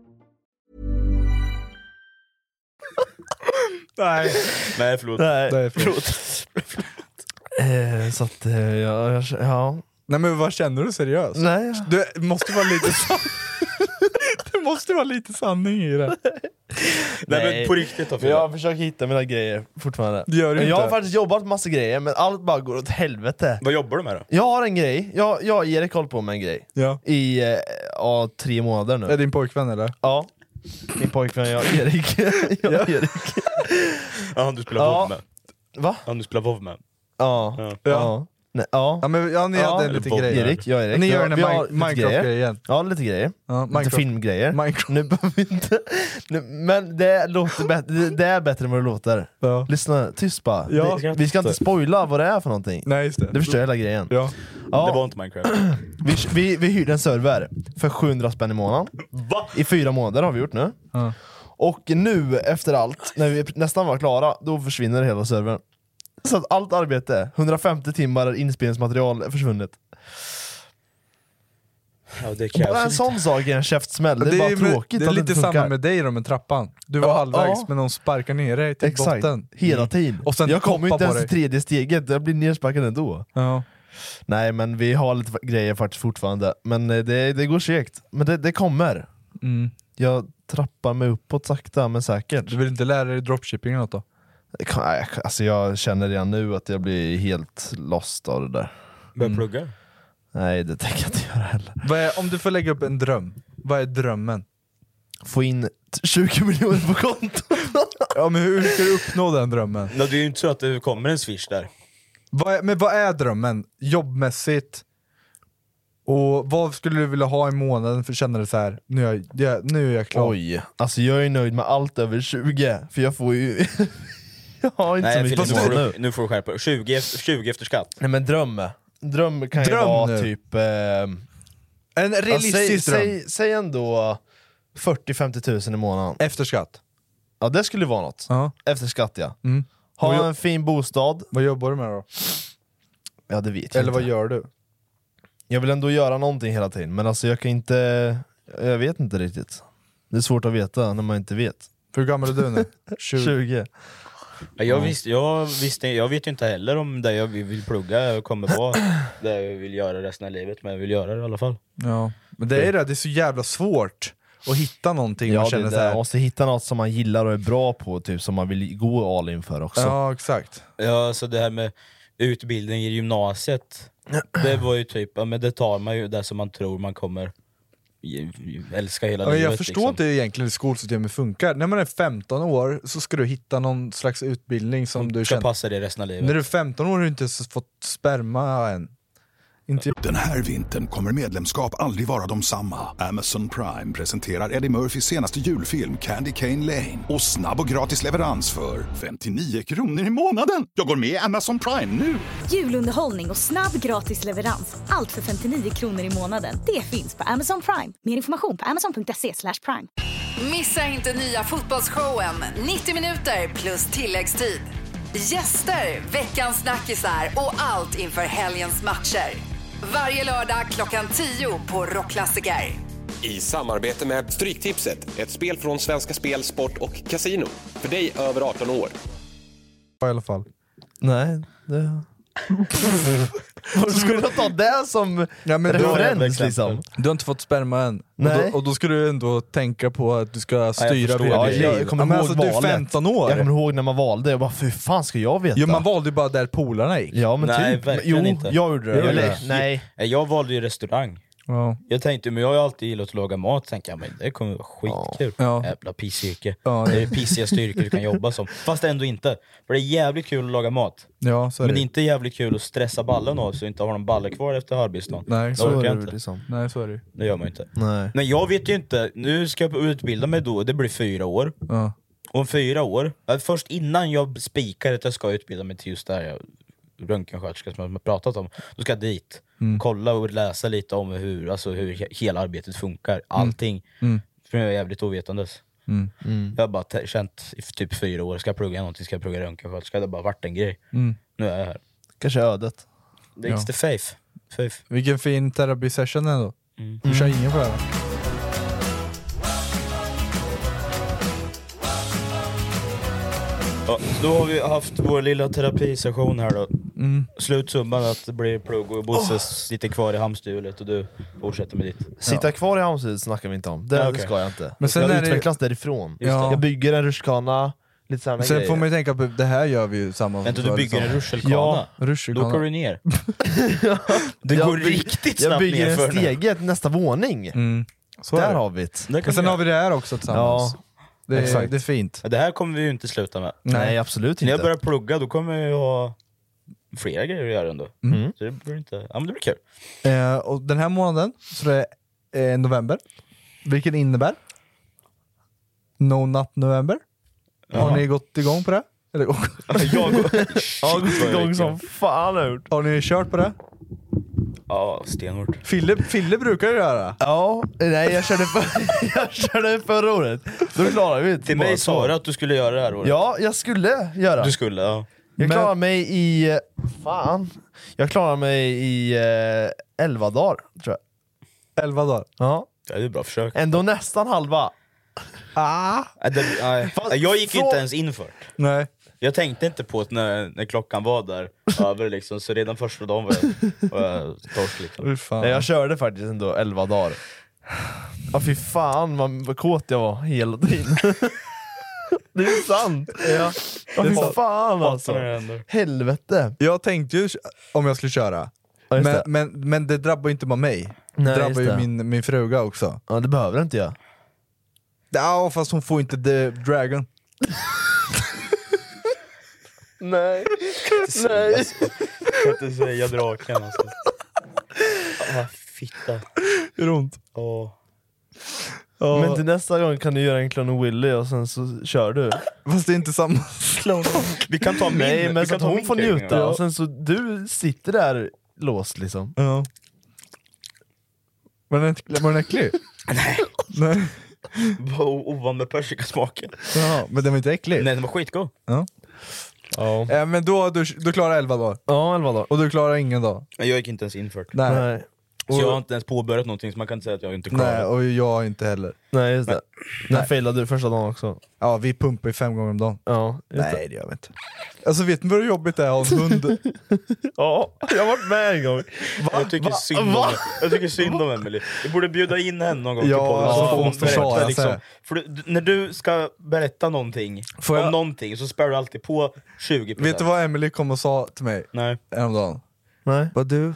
Nej.
Nej, förlåt.
Nej,
Nej,
förlåt. Eh, så att, eh, ja, jag, ja.
Nej men vad känner du seriöst?
Nej.
Du måste vara lite san- Det måste vara lite sanning i det.
Nej,
men på riktigt då, Fille.
Jag försöker hitta mina grejer fortfarande.
Det gör du
jag
inte.
har faktiskt jobbat massa grejer, men allt bara går åt helvete.
Vad jobbar du med då?
Jag har en grej, jag, jag och Erik håller på med en grej.
Ja.
I eh, ja, tre månader nu.
Är din pojkvän eller?
Ja. Min pojkvän, jag och Erik. jag och Erik.
Ja, han du spelar
Ja.
WoW med.
Va?
Han du spelar WoW med.
Ja.
Ja.
Ja. Nej, ja.
Ja, men, ja ni
Ja,
hade en
eller
liten
Bob.
grej. där.
Erik, jag och Erik.
Ni gör
Ja,
den
vi har
här
lite
Minecraft-grejen.
Ja, lite grejer.
Ja,
Lite
Minecraft.
filmgrejer.
Minecraft.
Nu behöver vi inte... Nu, men det, låter bättre, det, det är bättre än vad det låter.
Ja.
Lyssna, tyst bara.
Ja.
Vi, vi ska inte spoila vad det är för någonting.
Nej just det.
Det förstör hela grejen.
Ja.
Ja.
Det var inte Minecraft.
Vi, vi, vi hyrde en server för 700 spänn i månaden.
Va?
I fyra månader har vi gjort nu.
Ja.
Och nu, efter allt, när vi nästan var klara, då försvinner hela servern. Så att allt arbete, 150 timmar inspelningsmaterial är försvunnet.
Ja, det kan
Bara en
jag
sån sak är en käftsmäll, det är, bara
ju-
tråkigt
Det är
att
lite
det inte
samma
funkar.
med dig då med trappan. Du var
Ja,
halvvägs
ja.
men de sparkar ner dig till
Exakt,
botten. Mm.
hela tiden.
Och sen
jag kommer
hoppar
inte
på
ens
dig.
till tredje steget, jag blir nersparkad ändå.
Ja.
Nej men vi har lite grejer faktiskt fortfarande, men eh, det, det går segt. Men det, det kommer.
Mm.
Jag trappar mig uppåt sakta men säkert.
Du vill inte lära dig dropshipping eller något då?
Jag kan- nej, jag kan- Alltså jag känner redan nu att jag blir helt lost av det där.
Börja plugga.
Mm. Nej det tänker jag inte göra heller.
Vad är, Eh, om du får lägga upp en dröm, vad är drömmen?
Få in t- 20 miljoner på kontot!
Ja, men hur ska du uppnå den drömmen?
Nej, det är ju inte så att det kommer en swish där.
Vad är, men vad är drömmen? Jobbmässigt? Och vad skulle du vilja ha i månaden för att känna dig så här? nu är jag, jag, nu är jag klar?
Oj, alltså jag är nöjd med allt över 20, för jag får ju... jag har inte
Nej,
så
Fille, nu,
mycket
får
mål
du,
nu.
nu får du skärpa dig. 20, efter- 20 efter skatt.
Nej men dröm. Dröm kan ju
Dröm
vara
nu.
typ... ehm,
En
alltså,
realistisk
säg,
dröm?
säg, säg ändå 40-50 tusen i månaden.
Efter skatt?
Ja det skulle vara något.
Ja.
Efter skatt ja.
Mm. Vad
Ha
gör-
en fin bostad.
Vad jobbar du med då?
Ja det vet jag
Eller vad
inte.
gör du?
Jag vill ändå göra någonting hela tiden, men alltså jag kan inte... Jag vet inte riktigt. Det är svårt att veta när man inte vet.
Hur gammal är du nu? 20.
20.
Ja, Jag, visste, jag, visste, jag vet ju inte heller om det jag vill vill plugga kommer vara det jag vill göra resten av livet, men jag vill göra det i alla fall.
Ja. Men det är det, det är så jävla svårt att hitta någonting man
Ja, det,
känner
det.
så här.
Man måste hitta något som man gillar och är bra på, typ som man vill gå all in för också.
Ja, exakt.
Ja, så det här med utbildning i gymnasiet, det var ju typ, ja, men det tar man ju det som man tror man kommer ge- älska hela
Ja, men
livet. liksom.
jag förstår inte egentligen hur skolsystemet funkar. När man är 15 år så ska du hitta någon slags utbildning som du
ska
känner...
passa dig resten av livet.
När du är 15 år har du inte ens fått sperma än. Inte...
Den här vintern kommer medlemskap aldrig vara de samma. Amazon Prime presenterar Eddie Murphys senaste julfilm Candy Cane Lane. Och snabb och gratis leverans för 59 kronor i månaden. Jag går med i Amazon Prime nu!
Julunderhållning och snabb gratis leverans. Allt för 59 kronor i månaden. Det finns på Amazon Prime. Mer information på amazon.se slash prime.
Missa inte nya fotbollsshowen, 90 minuter plus tilläggstid. Gäster, veckans snackisar och allt inför helgens matcher. Varje lördag klockan 10 på Rockklassiker.
I samarbete med Stryktipset, ett spel från Svenska Spel, Sport och Casino. För dig över 18 år.
I alla fall.
Nej, det... Varför skulle jag ta det som referens liksom?
Du har inte fått sperma än.
Nej.
Och, då, och då ska du ändå tänka på att du ska styra
förstår. Ja,
VD.
jag kommer
men
ihåg
alltså, du är
valet.
15 år.
Jag kommer ihåg när man valde, jag bara hur fan ska jag veta?
Jo, man valde ju bara där polarna gick.
Ja men
Nej,
typ.
verkligen
jo,
inte.
jag gjorde det.
Jag,
Eller,
gjorde det.
nej.
Nej, Eh, jag valde ju restaurang.
Ja.
Jag tänkte, men jag har ju alltid gillat att laga mat, tänkte jag, men det kommer vara skitkul. Jävla pissyrke. Det är det pissigaste yrke du kan jobba som. Fast ändå inte. För det är jävligt kul att laga mat.
Ja, så är
men
det.
det är inte jävligt kul att stressa ballen av sig och inte ha någon balle kvar efter arbetsdagen.
Nej,
Det
så
orkar
är
jag
det
inte.
liksom.
Nej, så är det ju.
Det gör man ju inte.
Nej.
Men jag vet ju inte, nu ska jag utbilda mig då, det blir fyra år.
Ja.
Och om fyra år, eh, först innan jag spikar att jag ska utbilda mig till just det här jag- röntgensköterska som jag har pratat om, då ska jag dit.
Mm.
Kolla och läsa lite om hur, alltså hur he- hela arbetet funkar, allting.
Mm.
För jag är jävligt ovetandes.
Mm.
Jag har bara te- känt i f- typ fyra år, ska jag plugga någonting, ska jag plugga röntgensköterska? Det har bara varit en grej.
Mm.
Nu är jag här.
Kanske ödet.
Det är
Ja.
the faith. faith.
Vilken fin terapisession ändå. Du kör ingen på det här, va?
Ja, då har vi haft vår lilla terapisession här då.
Mm.
Slutsumman att det blir plugg och Bosse sitter kvar i hamsterhjulet och du fortsätter med ditt.
Sitta kvar i Hamsterhjulet snackar vi inte om, det
Ja, okej.
ska jag inte.
Men sen
jag
är det ju-
utvecklas därifrån.
Ja.
Jag bygger en rutschkana, lite sådana
Sen
grejer.
får man ju tänka på, det här gör vi ju liksom. samma
Vänta, du bygger en rutschkana?
Ja, rutschkana.
Då går du ner. det
Jag
går
bygger-
riktigt
Jag
snabbt
bygger
nerför
en
nu.
stege till nästa våning.
Mm. Så är
Där
det.
har vi det.
Det kan
Men sen
vi
har vi det här också tillsammans.
Ja.
Det, är,
Exakt.
det är fint.
Ja, Det här kommer vi ju inte sluta med.
Nej, absolut
När jag
inte.
börjar plugga då kommer jag ju ha flera grejer att göra ändå.
Mm.
Så det blir, inte... ja, men det blir kul.
Eh, och den här månaden så det är eh, november, vilket innebär No Nut November. Har
Jaha.
ni gått igång på det? Eller,
Jag går,
Jag
Shit, vad
går igång
gick
som fan har jag gjort.
har ni kört på det?
Ja, stenhårt.
Fille, Fille brukar ju göra.
Ja, nej jag körde, för, jag körde förra året. Då klarade vi det.
Till
Bara
mig
så.
sa du att du skulle göra det här året.
Ja, jag skulle göra.
Du skulle, ja.
Jag klarar mig i... eh, Fan. Jag klarar mig i eh, 11 dagar, tror
jag. 11 dagar?
Ja.
Ja, Det är bra försök.
Ändå nästan halva.
Ah.
Ja, Äh, det, nej. jag gick
från-
inte ens inför.
Nej.
Jag tänkte inte på att när, när klockan var där över liksom, så redan första dagen var jag, var jag torsk liksom.
Fy fan.
Nej, jag körde faktiskt ändå 11 dagar. Ja fy fan vad, vad kåt jag var hela tiden. det är sant! Ja, ja fy fan alltså. Helvete.
Jag tänkte ju om jag skulle köra,
Ja, just
men,
det.
men, men det drabbar ju inte bara mig.
Nej,
det
just
drabbar ju
det.
min, min fruga också.
Ja det behöver det inte jag.
Ja, fast hon får inte The Dragon.
Nej. Nej.
Jag kan inte säga draken alltså. Ah, fitta.
Hur ont?
Åh.
Men till nästa gång kan du göra en Clone Willy och sen så kör du.
Fast det är inte samma.
Vi kan ta min.
Nej men
vi
så
kan
att
ta
hon
min
får
kring,
njuta
ja.
och sen så du sitter där låst liksom.
Ja. Var den, äck- var den äcklig? Nej. Nej.
Bara o- Ovan med persikasmaken.
Ja, men den var inte äcklig?
Nej den var skitgod.
Ja.
Ja,
Eh, men då, du, du klarar 11 dagar,
ja 11 dagar.
och du klarar ingen dag.
Men Jag gick inte ens inför det.
Nej.
Nej.
Så jag har inte ens påbörjat någonting så man kan inte säga att jag inte
Nej,
klarar det.
och jag inte heller.
Nej just det. När failade du första dagen också?
Ja, vi pumpar ju fem gånger om dagen.
Ja, just det.
Nej, det gör vi inte. Alltså vet ni vad jobbigt det är att ha en hund?
Ja, jag har varit med en gång.
Jag tycker, synd om,
Va?
jag tycker synd om Emily. Vi borde bjuda in henne någon gång
Ja,
till podden.
alltså,
så får
hon
hon
måste
berätta,
svara,
liksom.
säger.
För du, d- när du ska berätta någonting
Får
om
jag-
någonting så spär du alltid på 20%.
vet du vad Emily kom och sa till mig
Nej.
häromdagen?
Nej.
Vad du,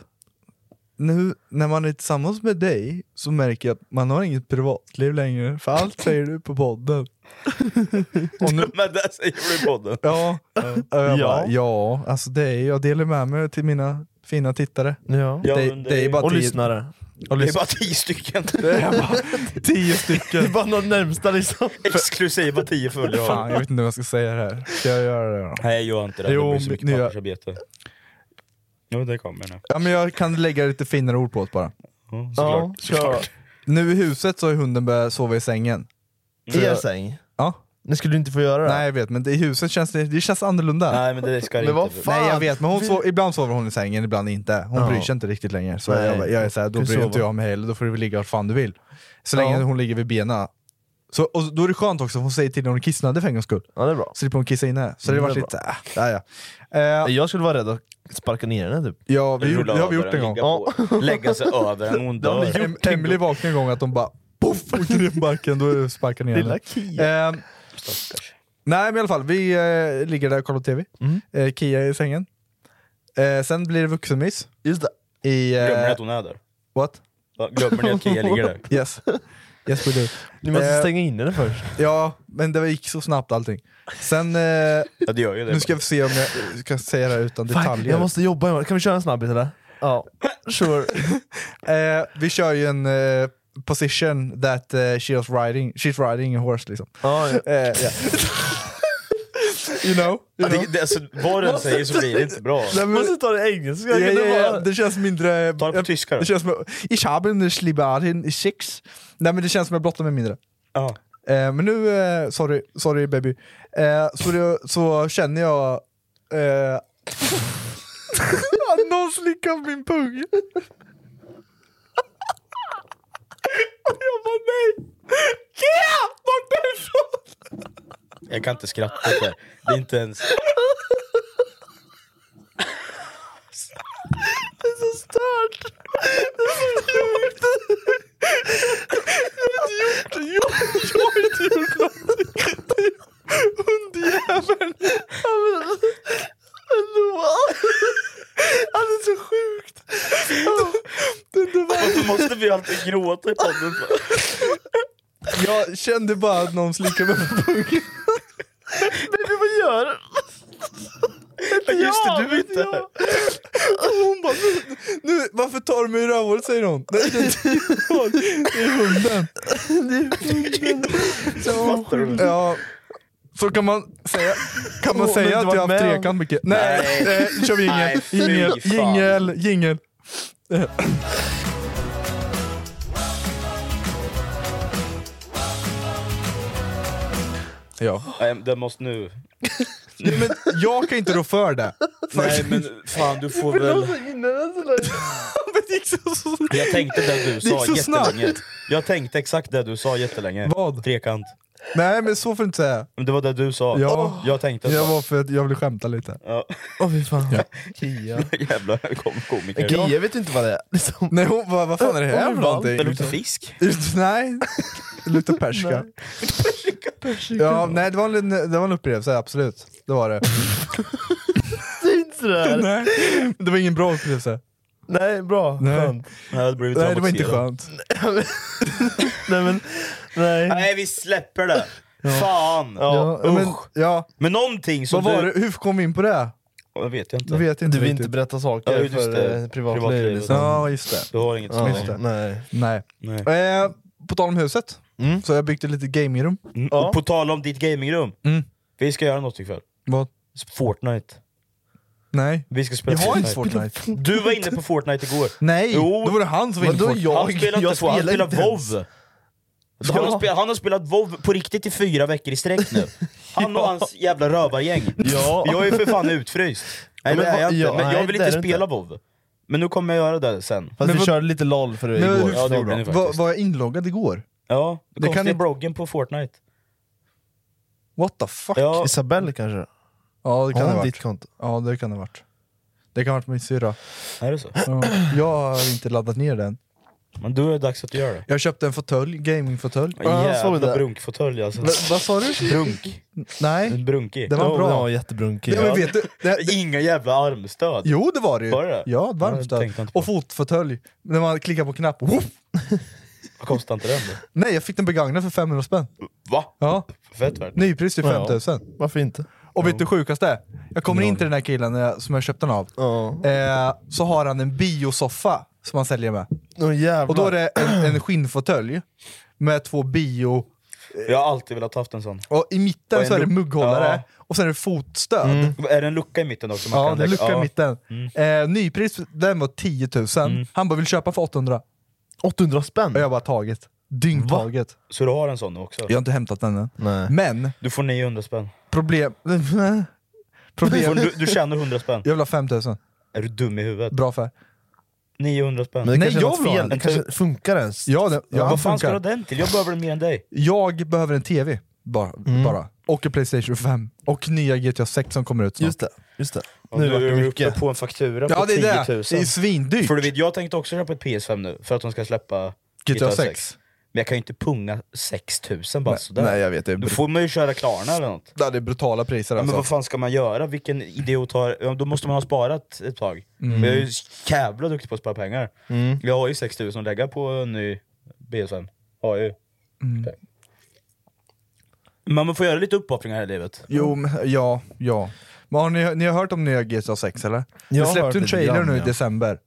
nu när man är tillsammans med dig så märker jag att man har inget privatliv längre, för allt säger du på podden. Och nu,
Men det säger du i podden.
ja, Och
Ja.
jag Bara, ja, alltså det är, jag delar med mig till mina fina tittare.
Ja.
Ja,
det,
men
det är bara
Och
tio,
lyssnare.
och
Det är
lyssn-
bara 10 stycken.
det är bara tio stycken.
Det är bara någon närmsta liksom.
Exklusiva 10 följare.
Fan, jag vet inte vad jag ska säga det här. Ska jag göra det då?
Nej jag gör inte det,
Jo,
det blir så mycket
nu gör-
pappersarbete. Jo det kommer nu.
Ja, men jag kan lägga lite finare ord på det bara.
Ja,
Ja,
såklart.
kör.
Nu i huset så har hunden börjat sova i sängen.
I er säng.
Ja.
Nu skulle du inte få göra det.
Nej jag vet, men det, i huset känns det, det känns annorlunda.
Nej men det ska det
Men vad
inte.
fan?
Nej jag vet, men hon sov, ibland sover hon i sängen, ibland inte. Hon
Ja.
bryr sig inte riktigt längre. Så
Nej.
jag, bara- jag är såhär, då
Du
bryr
sover.
inte jag mig heller, då får du väl ligga vart fan du vill. Så
Ja.
länge hon ligger vid benen Så, och då är det skönt också att hon säger till när hon är kissnödig för en gångs skull.
Ja, det är bra.
Slipper hon kissa inne. Så det har
Mm,
varit
det är
lite... Äh, ja, ja.
Jag skulle vara rädd att sparka ner henne typ.
Eh, Ja, vi gjorde, det har vi gjort en gång. Det har ni gjort. Em- Emily vaknade en gång att hon bara poff, åker ner på marken, då sparkar ni henne.
Lilla
Kia. nej men i alla fall, vi eh, ligger där och kollar på TV.
Mm.
Eh, Kia är i sängen. Eh, sen blir det vuxenmys.
Just
det. I, eh,
Glömmer ni att hon är där?
What?
Va, glömmer ni att Kia ligger där?
Yes. Yes we do. Eh,
Ni måste stänga
in henne först.
Ja, men det gick så snabbt allting. Sen... Eh,
det gör ju det.
nu ska vi se om jag kan säga det här utan
Fan,
detaljer.
jag måste jobba imorgon, kan vi köra en snabbis eller? Ja, sure.
Eh, vi kör ju en eh, position that eh, she was riding, she's riding a horse liksom. Eh, ja. you know? You know?
Det, det, alltså, vad den säger så blir det inte bra.
Nej, men- Måste
ta det engelska,
Ja,
kan
ja,
det
ja.
vara-
Det känns mindre... Ta det på
tyska då.
Det känns som... Ich habe eine Schlibarin sex. Nej men det känns som jag blottar mig mindre.
Ja.
Eh, men nu, eh, sorry, sorry baby. Eh, så, det, så känner jag... Eh, Någon slickar på min pung.
jag bara nej! Kia! Bort därifrån!
Jag kan inte skratta åt det. Det är inte ens...
Det är så stört! Det är så sjukt! Jag har inte gjort det! Jag, jag har inte gjort någonting! Det är Hundjäveln! Han är så sjukt!
Varför måste vi alltid gråta i podden?
Jag kände bara att någon slickade mig på pungen.
Baby vad gör du?
Just
det,
du är inte här. Och hon bara, nu, nu, varför tar du mig i rövhålet säger hon. Nej, det är inte jag. Det är hunden.
Fattar du?
Ja, så kan man säga, kan man
Åh, men
säga
du
att
var
jag har
med
haft
om-
trekant mycket? Nej,
Nej.
eh, nu kör vi
Nej,
jingel.
fy
Jingel,
fan.
jingel, jingel. Eh, Ja.
Nej, Ehm, den måste nu...
Nej, men jag kan inte rå för det.
Nej men fan du får väl...
Det gick så, så...
Jag tänkte
Det
det du
gick
sa
så snabbt.
jättelänge. Jag tänkte exakt det du sa jättelänge.
Vad?
Trekant.
Nej men så får du inte säga.
Men det var det du sa.
Ja.
Jag tänkte
Jag
så.
var för att jag ville skämta lite.
Ja.
Åh fy fan.
Ja.
Kia.
Jävla kom komiker.
Kia vet inte vad det är. Liksom.
Nej hon bara, vad fan är det här för någonting?
Det luktar fisk.
Ut- Nej, det luktar persika. Ja, nej det var, en, det var en upplevelse, absolut. Det var det.
Säg inte sådär!
nej, det var ingen bra upplevelse.
Nej, bra.
Nej.
Skönt.
Nej, det, blev
Nej det var inte skönt.
Nej, men, nej.
Nej vi släpper det. Fan!
Ja, men,
usch.
ja.
Men någonting som
Vad var
du...
det? Hur kom vi in på det?
Jag vet jag inte.
Jag vet inte
Du vill
riktigt.
inte berätta
Ja,
saker
just det.
för eh, privatliv.
Privatlivet.
Liksom.
Ja just det.
Du har inget
Ja,
att säga.
nej.
Nej. Eh, på tal om huset,
Mm.
så har jag byggt ett litet gamingrum.
Mm, Och på tal om ditt gamingrum.
Mm.
Vi ska göra något ikväll.
Vad?
Fortnite.
Nej.
Vi ska spela
Jag har inte
Fortnite.
Fortnite.
Du var inne på Fortnite igår.
Nej,
Jo.
då var det han som var inne på
Vadå,
Fortnite.
jag-
han spelar
jag
inte Fortnite, han
spelar
spelar
inte ens.
WoW. Han har, spelat, han har spelat WoW på riktigt i fyra veckor i sträck nu. Han och hans jävla rövargäng.
Ja.
Jag är för fan utfryst. Nej
Men
det är jag
vad-
inte,
ja,
men jag
nej,
vill
det är
inte
du
spela WoW. Men nu kommer jag göra det sen.
Fast
Men
vi
vad-
körde lite LOL för det
Men
igår.
hur-
Ja, det gjorde ni
Var,
faktiskt.
var jag inloggad igår?
Ja, det
Det kan
kan ni...
ni-
bloggen på Fortnite.
What the fuck?
Ja.
Isabelle kanske?
Ja det
Har
kan det ha
hon
varit.
ditt konto?
Ja det kan det ha varit. Det kan ha varit min syrra.
Är det så?
Ja. Jag har inte laddat ner den.
Men då är det dags att du gör det.
Jag köpte en fåtölj, gamingfåtölj.
Ja, jag såg
Jävla
det.
brunkfåtölj alltså.
Va- Vad sa du?
Brunk.
Nej,
Brunkig.
det var
Ja,
bra.
Ja, jättebrunkig.
Ja, men vet du, det,
Inga jävla armstöd.
jo det var det ju.
Var det?
Ja, ett
Ja, det
varmt stöd.
tänkte jag inte på.
Och fotfåtölj. När man klickar på knapp, woof!
Vad kostar inte den då?
Nej jag fick den begagnad för 500 spänn.
Va?
Ja,
Fett värt.
nypris till
Ja.
5000.
Varför inte?
Och vet du sjukaste? Jag kommer in till den här killen när jag- som jag köpte den av.
Ja.
Eh, så har han en biosoffa som han säljer med.
Åh, jävlar.
Och då är det en, en skinnfåtölj med två bio,
Jag har alltid velat haft en sån.
och i mitten
Och en
så är det
lu-
mugghållare,
Ja. Mm.
och sen är det fotstöd.
Är det en lucka i mitten också? Man
Ja,
kan
det är
lägga- Mm.
lucka i mitten. Eh, nypris den var 10 000, han bara vill köpa för 800.
800 spänn?
Och jag bara tagit. Dyngtaget.
Så du har en sån nu också?
Jag har inte hämtat den än.
Nej.
Men,
Du får 900 spänn.
problem...
Du, får,
problem
du, du tjänar 100 spänn.
jag vill ha 5 000.
Är du dum i huvudet?
Bra affär.
900 spänn.
Men det kanske är något fel, det kanske funkar ens?
Ja, det, ja,
Vad fan ska du ha
funkar.
den till? Jag behöver den mer än dig.
Jag behöver en TV bara,
Mm.
bara. Och en Playstation 5. Och nya GTA 6 som kommer ut snart. Just det.
Just det.
Om du är uppe på en faktura
Ja,
på
det är
10 000.
det. Det är svindyrt.
För du vet, jag tänkte också köpa ett PS5 nu för att de ska släppa
GTA
GTA
6.
6. Men jag kan ju inte punga 6000 bara
Nej,
sådär.
nej, jag vet, det är
Då
brut-
får man ju köra Klarna eller något.
Ja, det är brutala priser
Ja, men
alltså.
vad fan ska man göra? Vilken idiot har... ja, Då måste man ha sparat ett tag.
Mm.
Men jag är ju jävla duktig på att spara pengar.
Mm.
Jag har ju 6000 att lägga på en ny PS5. Har jag ju.
Mm.
Men man får göra lite uppoffringar i livet.
Jo, men, ja, ja. Men har ni, ni har hört om nya GTA 6 eller?
Jag
det
har hört
släppte en
lite
trailer
grann,
nu i
ja.
december.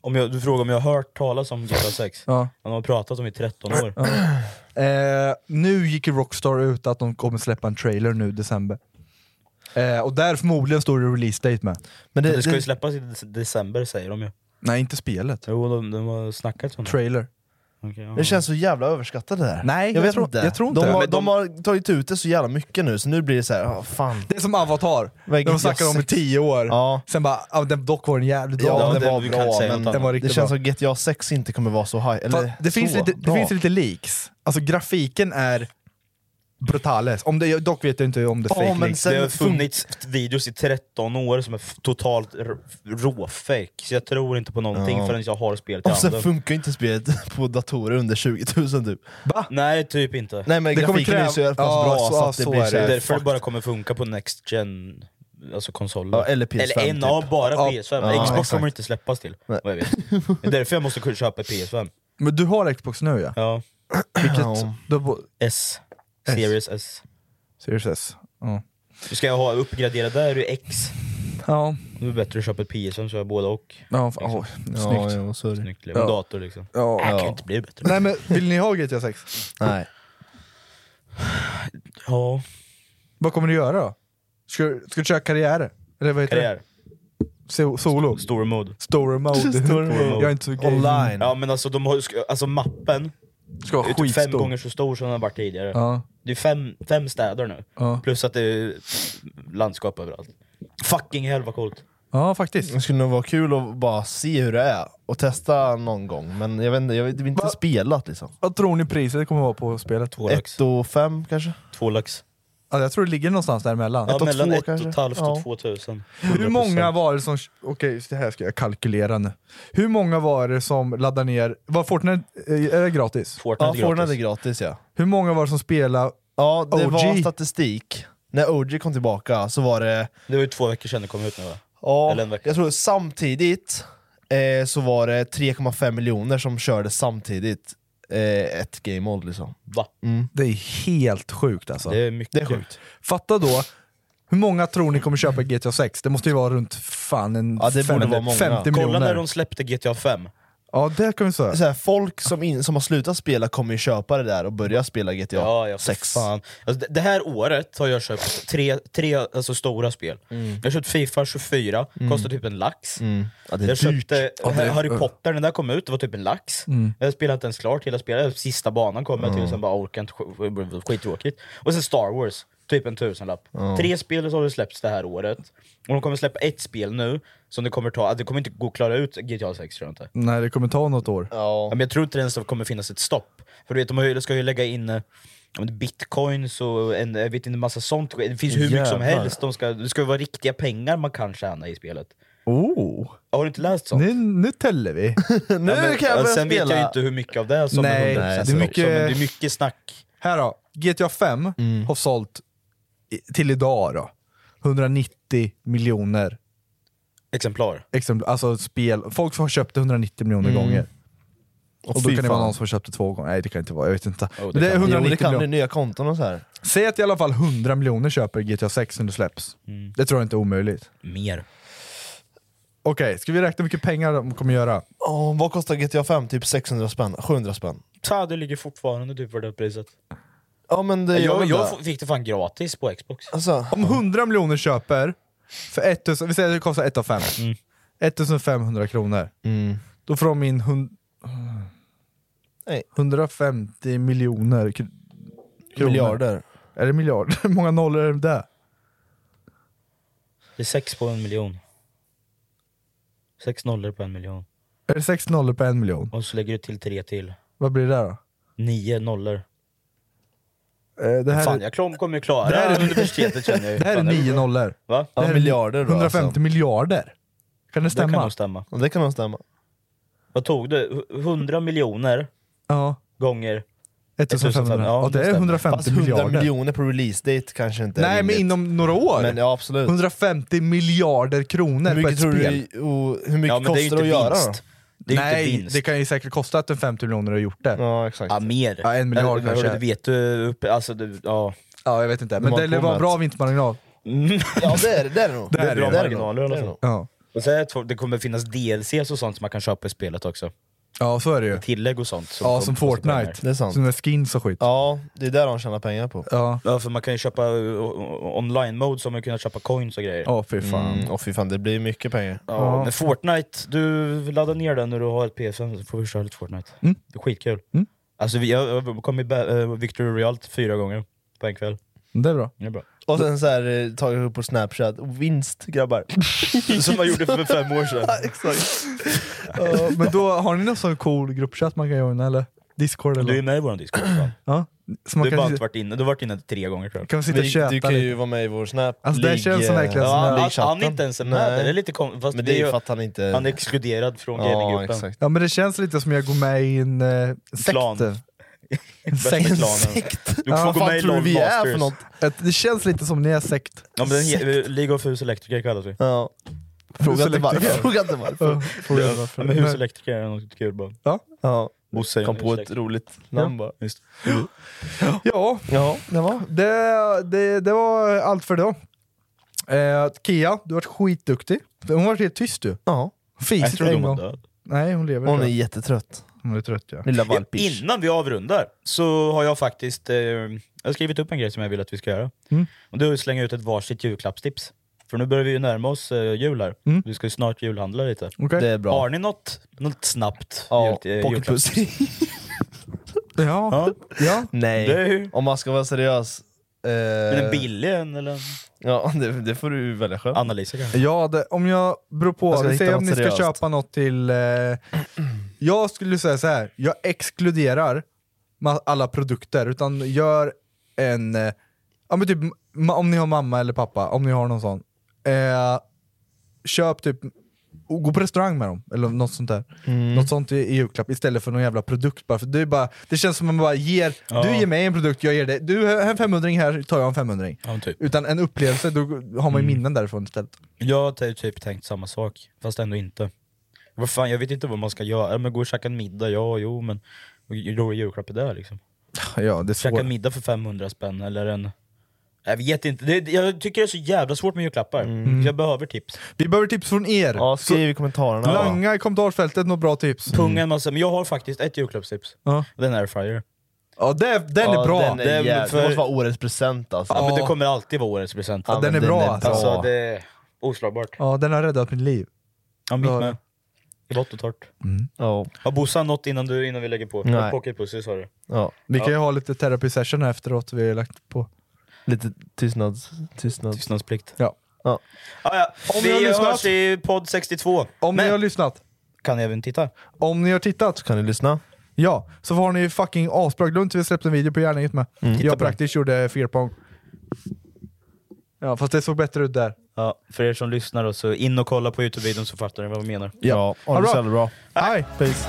Om jag, du frågar om jag har hört talas om GTA 6?
Ja.
De har pratat om i 13 år.
Eh, nu gick ju Rockstar ut att de kommer släppa en trailer nu i december. Eh, och där förmodligen står det release date med.
Men det, ska ju släppas i dec- december säger de ju.
Nej, inte spelet.
Jo, de, de har snackat om det.
Trailer.
Okej, ja.
Det känns så jävla överskattat det där.
Nej, jag
vet
tror-
inte.
jag tror inte
de,
det.
har,
Men de-
de har tagit ut det så jävla mycket nu, så nu blir det så här, ah, fan.
Det är som Avatar, när de snackade om i tio år. Sen bara, ah, den, dock var den jävligt bra.
Ja,
Den
det, var bra, men
den var
det
riktigt
känns
bra.
som GTA 6 inte kommer vara så high. Eller,
Fast det, finns
så
lite, det
bra.
finns lite leaks. Alltså grafiken är brutales. Om det, dock vet jag inte om det är fake leaks.
det har funnits videos i 13 år som är f- totalt r- råfake, så jag tror inte på någonting
Ja.
förrän jag har spelet i
Och sen
handen.
funkar inte spelet på datorer under 20 000 typ.
Nej, typ inte.
Nej, men Det kommer grafiken är kräva- så jävla pass bra så att det blir
är
så här
därför det
fucked.
bara kommer funka på Next Gen Alltså konsoler.
Ja, eller PS5
Eller en
typ.
av bara
Ja.
PS5.
Ja,
Xbox
exakt.
kommer inte släppas till, vad jag vet. Det är därför jag måste kunna köpa PS5.
Men du har Xbox nu ja?
Ja.
Vilket,
Ja.
du har bo-
S. Series S.
Series S. Ja.
Så ska jag ha uppgradera där i X.
Ja.
Det är bättre att köpa ett PS5 så jag har båda och.
Ja, fan, oj,
Liksom.
snyggt.
Snyggt liv. En dator liksom.
Ja.
Äh, kan inte bli bättre.
Nej men vill ni ha GTA 6?
Nej.
Ja.
Vad kommer du göra då? Ska, du- ska du köra karriär? Eller vad heter
Karriär.
det? So, solo?
Story mode.
Story mode.
Story mode.
Jag är inte så gay.
Online. Ja men alltså, de har, ju sk- alltså mappen
Ska vara
är typ fem
skitstor.
gånger så stor som den har varit tidigare.
Ja.
Det är fem, fem städer nu,
Ja.
plus att det är landskap överallt. Fucking hell vad coolt.
Ja faktiskt.
Det skulle nog vara kul att bara se hur det är och testa någon gång, men jag vet inte, jag vet, det är inte spelat liksom.
Vad tror ni priset kommer vara på spelet?
Två
Ett och fem kanske?
Två lax.
Ja, jag tror det ligger någonstans däremellan.
Ja, mellan ett och ett halvt och två tusen.
Hur många var det som... Okej, just det här ska jag kalkylera nu. Hur många var det som laddade ner... Var Fortnite eh, är det gratis?
Fortnite Ja, är Fortnite gratis. är gratis, ja.
Hur många var det som spelade
Ja, det
OG?
var statistik. När OG kom tillbaka så var det...
Det var ju två veckor sedan det kom ut nu va?
Ja,
Eller en vecka.
jag tror samtidigt eh, så var det 3,5 miljoner som körde samtidigt eh, ett game old liksom.
Va?
Det är helt sjukt alltså.
Det är mycket
Det är sjukt.
Fatta då, hur många tror ni kommer köpa GTA 6? Det måste ju vara runt fan en
Ja, det borde
50,
vara många.
50
Kolla
miljoner.
när
När de släppte GTA 5,
Ja, det kan vi säga.
Så här, folk som, in, som har slutat spela kommer ju köpa det där och börja spela GTA
Ja, ja, för
6.
fan. Alltså, det, det här året har jag köpt tre, tre alltså, stora spel.
Mm.
Jag har köpt Fifa 24,
Mm.
kostar typ en lax.
Mm. Ja, det är
jag köpte
dyrt. Ja, det är-
Harry Potter, den där kom ut, det var typ en lax.
Mm.
Jag spelade inte ens klart hela spelet, sista banan kom jag till,
Ja.
sen bara orkade inte, sk- det blev skittråkigt. Och sen Star Wars, typ en tusenlapp.
Ja.
Tre spel har det släppts det här året, och de kommer släppa ett spel nu, som det kommer ta, det kommer inte gå att klara ut GTA 6 tror jag inte.
Nej, det kommer ta något år.
Ja.
Men jag tror inte ens det kommer finnas ett stopp. För du vet, de har ju- ska ju lägga in eh, ja, men bitcoins och en, jag vet inte, massa sånt. Det finns hur mycket som
Jävlar.
helst. De ska, det ska ju vara riktiga pengar man kan tjäna i spelet.
Oh.
Har du inte läst sånt?
Nu, nu täller vi.
nu
sen vet jag ju inte hur mycket av det som
Nej,
är 100%
det är
också, men det
mycket-
är mycket snack. Mm.
Här då, GTA 5 har sålt i- till idag då, 190 miljoner
exemplar.
exemplar. Alltså spel, folk har köpt det 190 miljoner
Mm.
gånger.
Och fy
Och, då kan det vara
fan.
någon som har köpt det två gånger. Nej det kan inte vara, jag vet inte.
Jo,
Men det är 190
jo, det kan bli
miljoner.
nya konton och så här.
Säg att i alla fall 100 miljoner köper GTA 6 när det släpps.
Mm.
Det tror jag inte är omöjligt.
Mer.
Okej, ska vi räkna hur mycket pengar de kommer göra?
Ja, vad kostar GTA 5? Typ 600 spänn? 700 spänn?
Ta, det ligger fortfarande typ för det priset.
Ja men det gör
jag,
väl
jag
det.
f- fick det fan gratis på Xbox.
Alltså,
Om 100 miljoner köper, för 1000, vi säger att det kostar 1 av 5. 1500 kronor.
Mm.
Då får de in hun,
Nej.
150 miljoner kr- kronor.
Miljarder.
Är det miljarder? Hur många nollor är det där?
Det är sex på en miljon. Sex nollor på en miljon.
Är det sex nollor på en miljon?
Och så lägger du till tre till.
Vad blir det där då?
Nio nollor.
Eh, Det här
Fan,
är-
jag klom- kommer ju klara
Det
det
här
här
är-
universitetet känner jag ju.
det här är
Fan,
nio nollor.
Va?
Det här är 150 miljarder. Kan det stämma?
alltså. Det kan nog stämma.
Det kan nog stämma.
Vad tog du? 100 miljoner
Ja.
gånger
1500. Ja, det är
stämmer.
150
Fast 100
miljarder.
miljoner på release date kanske inte är
Nej, men
rimligt.
inom några år.
Men ja, absolut.
150 miljarder kronor
Hur
på
mycket
ett
tror du
spel.
i- och hur mycket Ja, men det är ju kostar det inte att göra vinst. då? Det är ju inte
Nej,
vinst.
det kan ju säkert kosta att en 50 miljoner har gjort det.
Ja, exakt.
Ja, mer.
Ja, en miljard
Eller,
kanske.
hörru, Det vet du, upp- alltså du, ja.
Ja, jag vet inte. Men det, det var en bra vinstmarginal.
Ja det är det, det är det nog.
Det är bra
det nog.
marginaler i alla fall.
Ja.
Och så är det, två- det kommer finnas DLCs och sånt som man kan köpa i spelet också.
Ja, så är det ju.
Tillägg och sånt.
ja,
kommer
som
kosta
Fortnite.
pengar.
Som med skins och skit.
Ja, det är där de tjänar pengar på.
Ja.
Ja, för man kan ju köpa uh, online mode så har man kunnat köpa coins och grejer.
Ja, fy fan.
Mm, och fy fan, det blir mycket pengar.
Ja, Men Fortnite, du laddar ner den när du har ett PS5 så får vi köra lite Fortnite.
Mm.
Det är skitkul. Alltså, vi, jag jag kom i ba- eh, Victory Royale fyra gånger på en kväll.
Det är bra.
Det är bra.
Och sen så här, eh, tagit upp på snapchat, vinst grabbar.
Som man gjorde för fem år sedan.
Exakt.
Ja, men då, har ni någon sån cool gruppchatt man kan joina eller? Discord eller?
Du är med i vår Discord. fan.
Ja. Så man
Du har bara
kan,
inte varit inne, du har varit inne tre gånger tror jag.
Kan vi sitta och köta
Du kan ju
lite?
vara med i vår snap eh,
Alltså, det känns som verkligen som en-
Ja, han, han är inte ens med
Nej.
där, det är lite kom, fast
Men det är ju
ju-
för att han inte...
Han är exkluderad från
Ja,
gaming-gruppen.
exakt.
Ja men det känns lite som jag går med i en eh, sekt.
Klan.
En
Bästa
sekt.
klanen. Du får
Ja.
gå med i LOL Masters.
Ett- Det känns lite som ni är sekt.
Ja, men den he- League of Huselektriker kallas vi.
Ja. Fråga inte varför. Fråga inte varför.
Fråga inte varför.
men Huselektriker är något kul bara.
Ja.
Ja.
Bosse,
Kom på ett
ursäkta.
roligt namn bara.
Just.
Ja,
Ja, det var.
det, det, det var allt för idag. Eh, Kia, du har varit skitduktig. Hon har varit helt tyst du.
Ja.
Jag
Fisit
trodde
en
hon var
gång.
död.
Nej, hon lever.
Hon är
tror jag.
jättetrött.
hon är trött ja.
Lilla valpis.
Innan vi avrundar så har jag faktiskt eh, jag har skrivit upp en grej som jag vill att vi ska göra.
Mm.
Och det är att slänga ut ett varsitt julklappstips. För nu börjar vi ju närma oss eh, jul här.
Mm.
Vi ska ju snart julhandla lite.
Okej.
Det är bra.
Har ni något, något snabbt
Ja,
jul- eh,
pocket
julklappstips?
pussy.
Ja.
Ja.
ja.
Nej.
Det är ju-
Om man ska vara seriös. Eh,
Är det en billig en eller en
Ja, det, det får du välja själv.
Anna-Lisa kanske?
Ja, det, om jag beror på.
Jag ska
Vi
hitta
säger om ni
något
ska
seriöst.
köpa något till... Eh, jag skulle säga så här. jag exkluderar ma- alla produkter, utan gör en... Eh, ja, men typ, ma- om ni har mamma eller pappa, om ni har någon sån. Eh, köp typ... och Gå på restaurang med dem, eller något sånt där. Något sånt i, i julklapp, istället för någon jävla produkt. Bara för det, är bara, det känns som att man bara ger... Du ger mig en produkt, jag ger dig... Du, här är en 500 här tar jag en 500
Ja, men typ.
Utan en upplevelse, då har man ju minnen därifrån istället.
Jag har ty- typ tänkt samma sak, fast ändå inte. Vad fan, jag vet inte vad man ska göra. Men gå och käka en middag, ja, jo, men hur rolig julklapp är det liksom?
Ja, det är
Käka en
svårt.
middag för 500 spänn eller en... Jag vet inte, det, jag tycker det är så jävla svårt med julklappar. Så Jag behöver tips.
Mm. Vi behöver tips från er.
Ja, skriv i kommentarerna.
Langa i kommentarsfältet några bra tips.
Punga en massa, men jag Mm. har faktiskt ett julklappstips.
Ja,
Den är fryer.
ja det, den
Ja,
är bra.
Den är
Den-
jävligt-
för-
Det måste vara årets present alltså.
Ja, men
Ja.
det kommer alltid vara årets present.
Ja, den är
men
bra, alltså.
Alltså det är oslagbart.
Ja, den har räddat mitt liv.
Ja, mitt
Ja. Mm.
med. I vått och torrt.
Ja.
Har Bossan något innan, du, innan vi lägger på?
Nej.
Pocketpussy sa du?
Ja.
Vi kan ju ha lite therapy session här efteråt vi har lagt på.
Lite tystnads... Tystnad.
Tystnadsplikt.
Ja.
Ja.
Ah, ja.
Om ni har
Vi
lyssnat-
hörs i podd 62.
Om
Men
ni har lyssnat,
kan även titta.
om ni har tittat,
Kan ni lyssna?
ja, så har ni fucking asbra. Glöm inte vi släppte en video på järnhänget med.
Mm.
Jag praktiskt gjorde fearpong. Ja, fast det såg bättre ut där.
Ja, för er som lyssnar då, så in och kolla på Youtube-videon så fattar ni vad vi menar.
Ja. Ha det så jävla bra.
Hej!
Peace.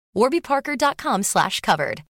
warbyparker.com slash covered.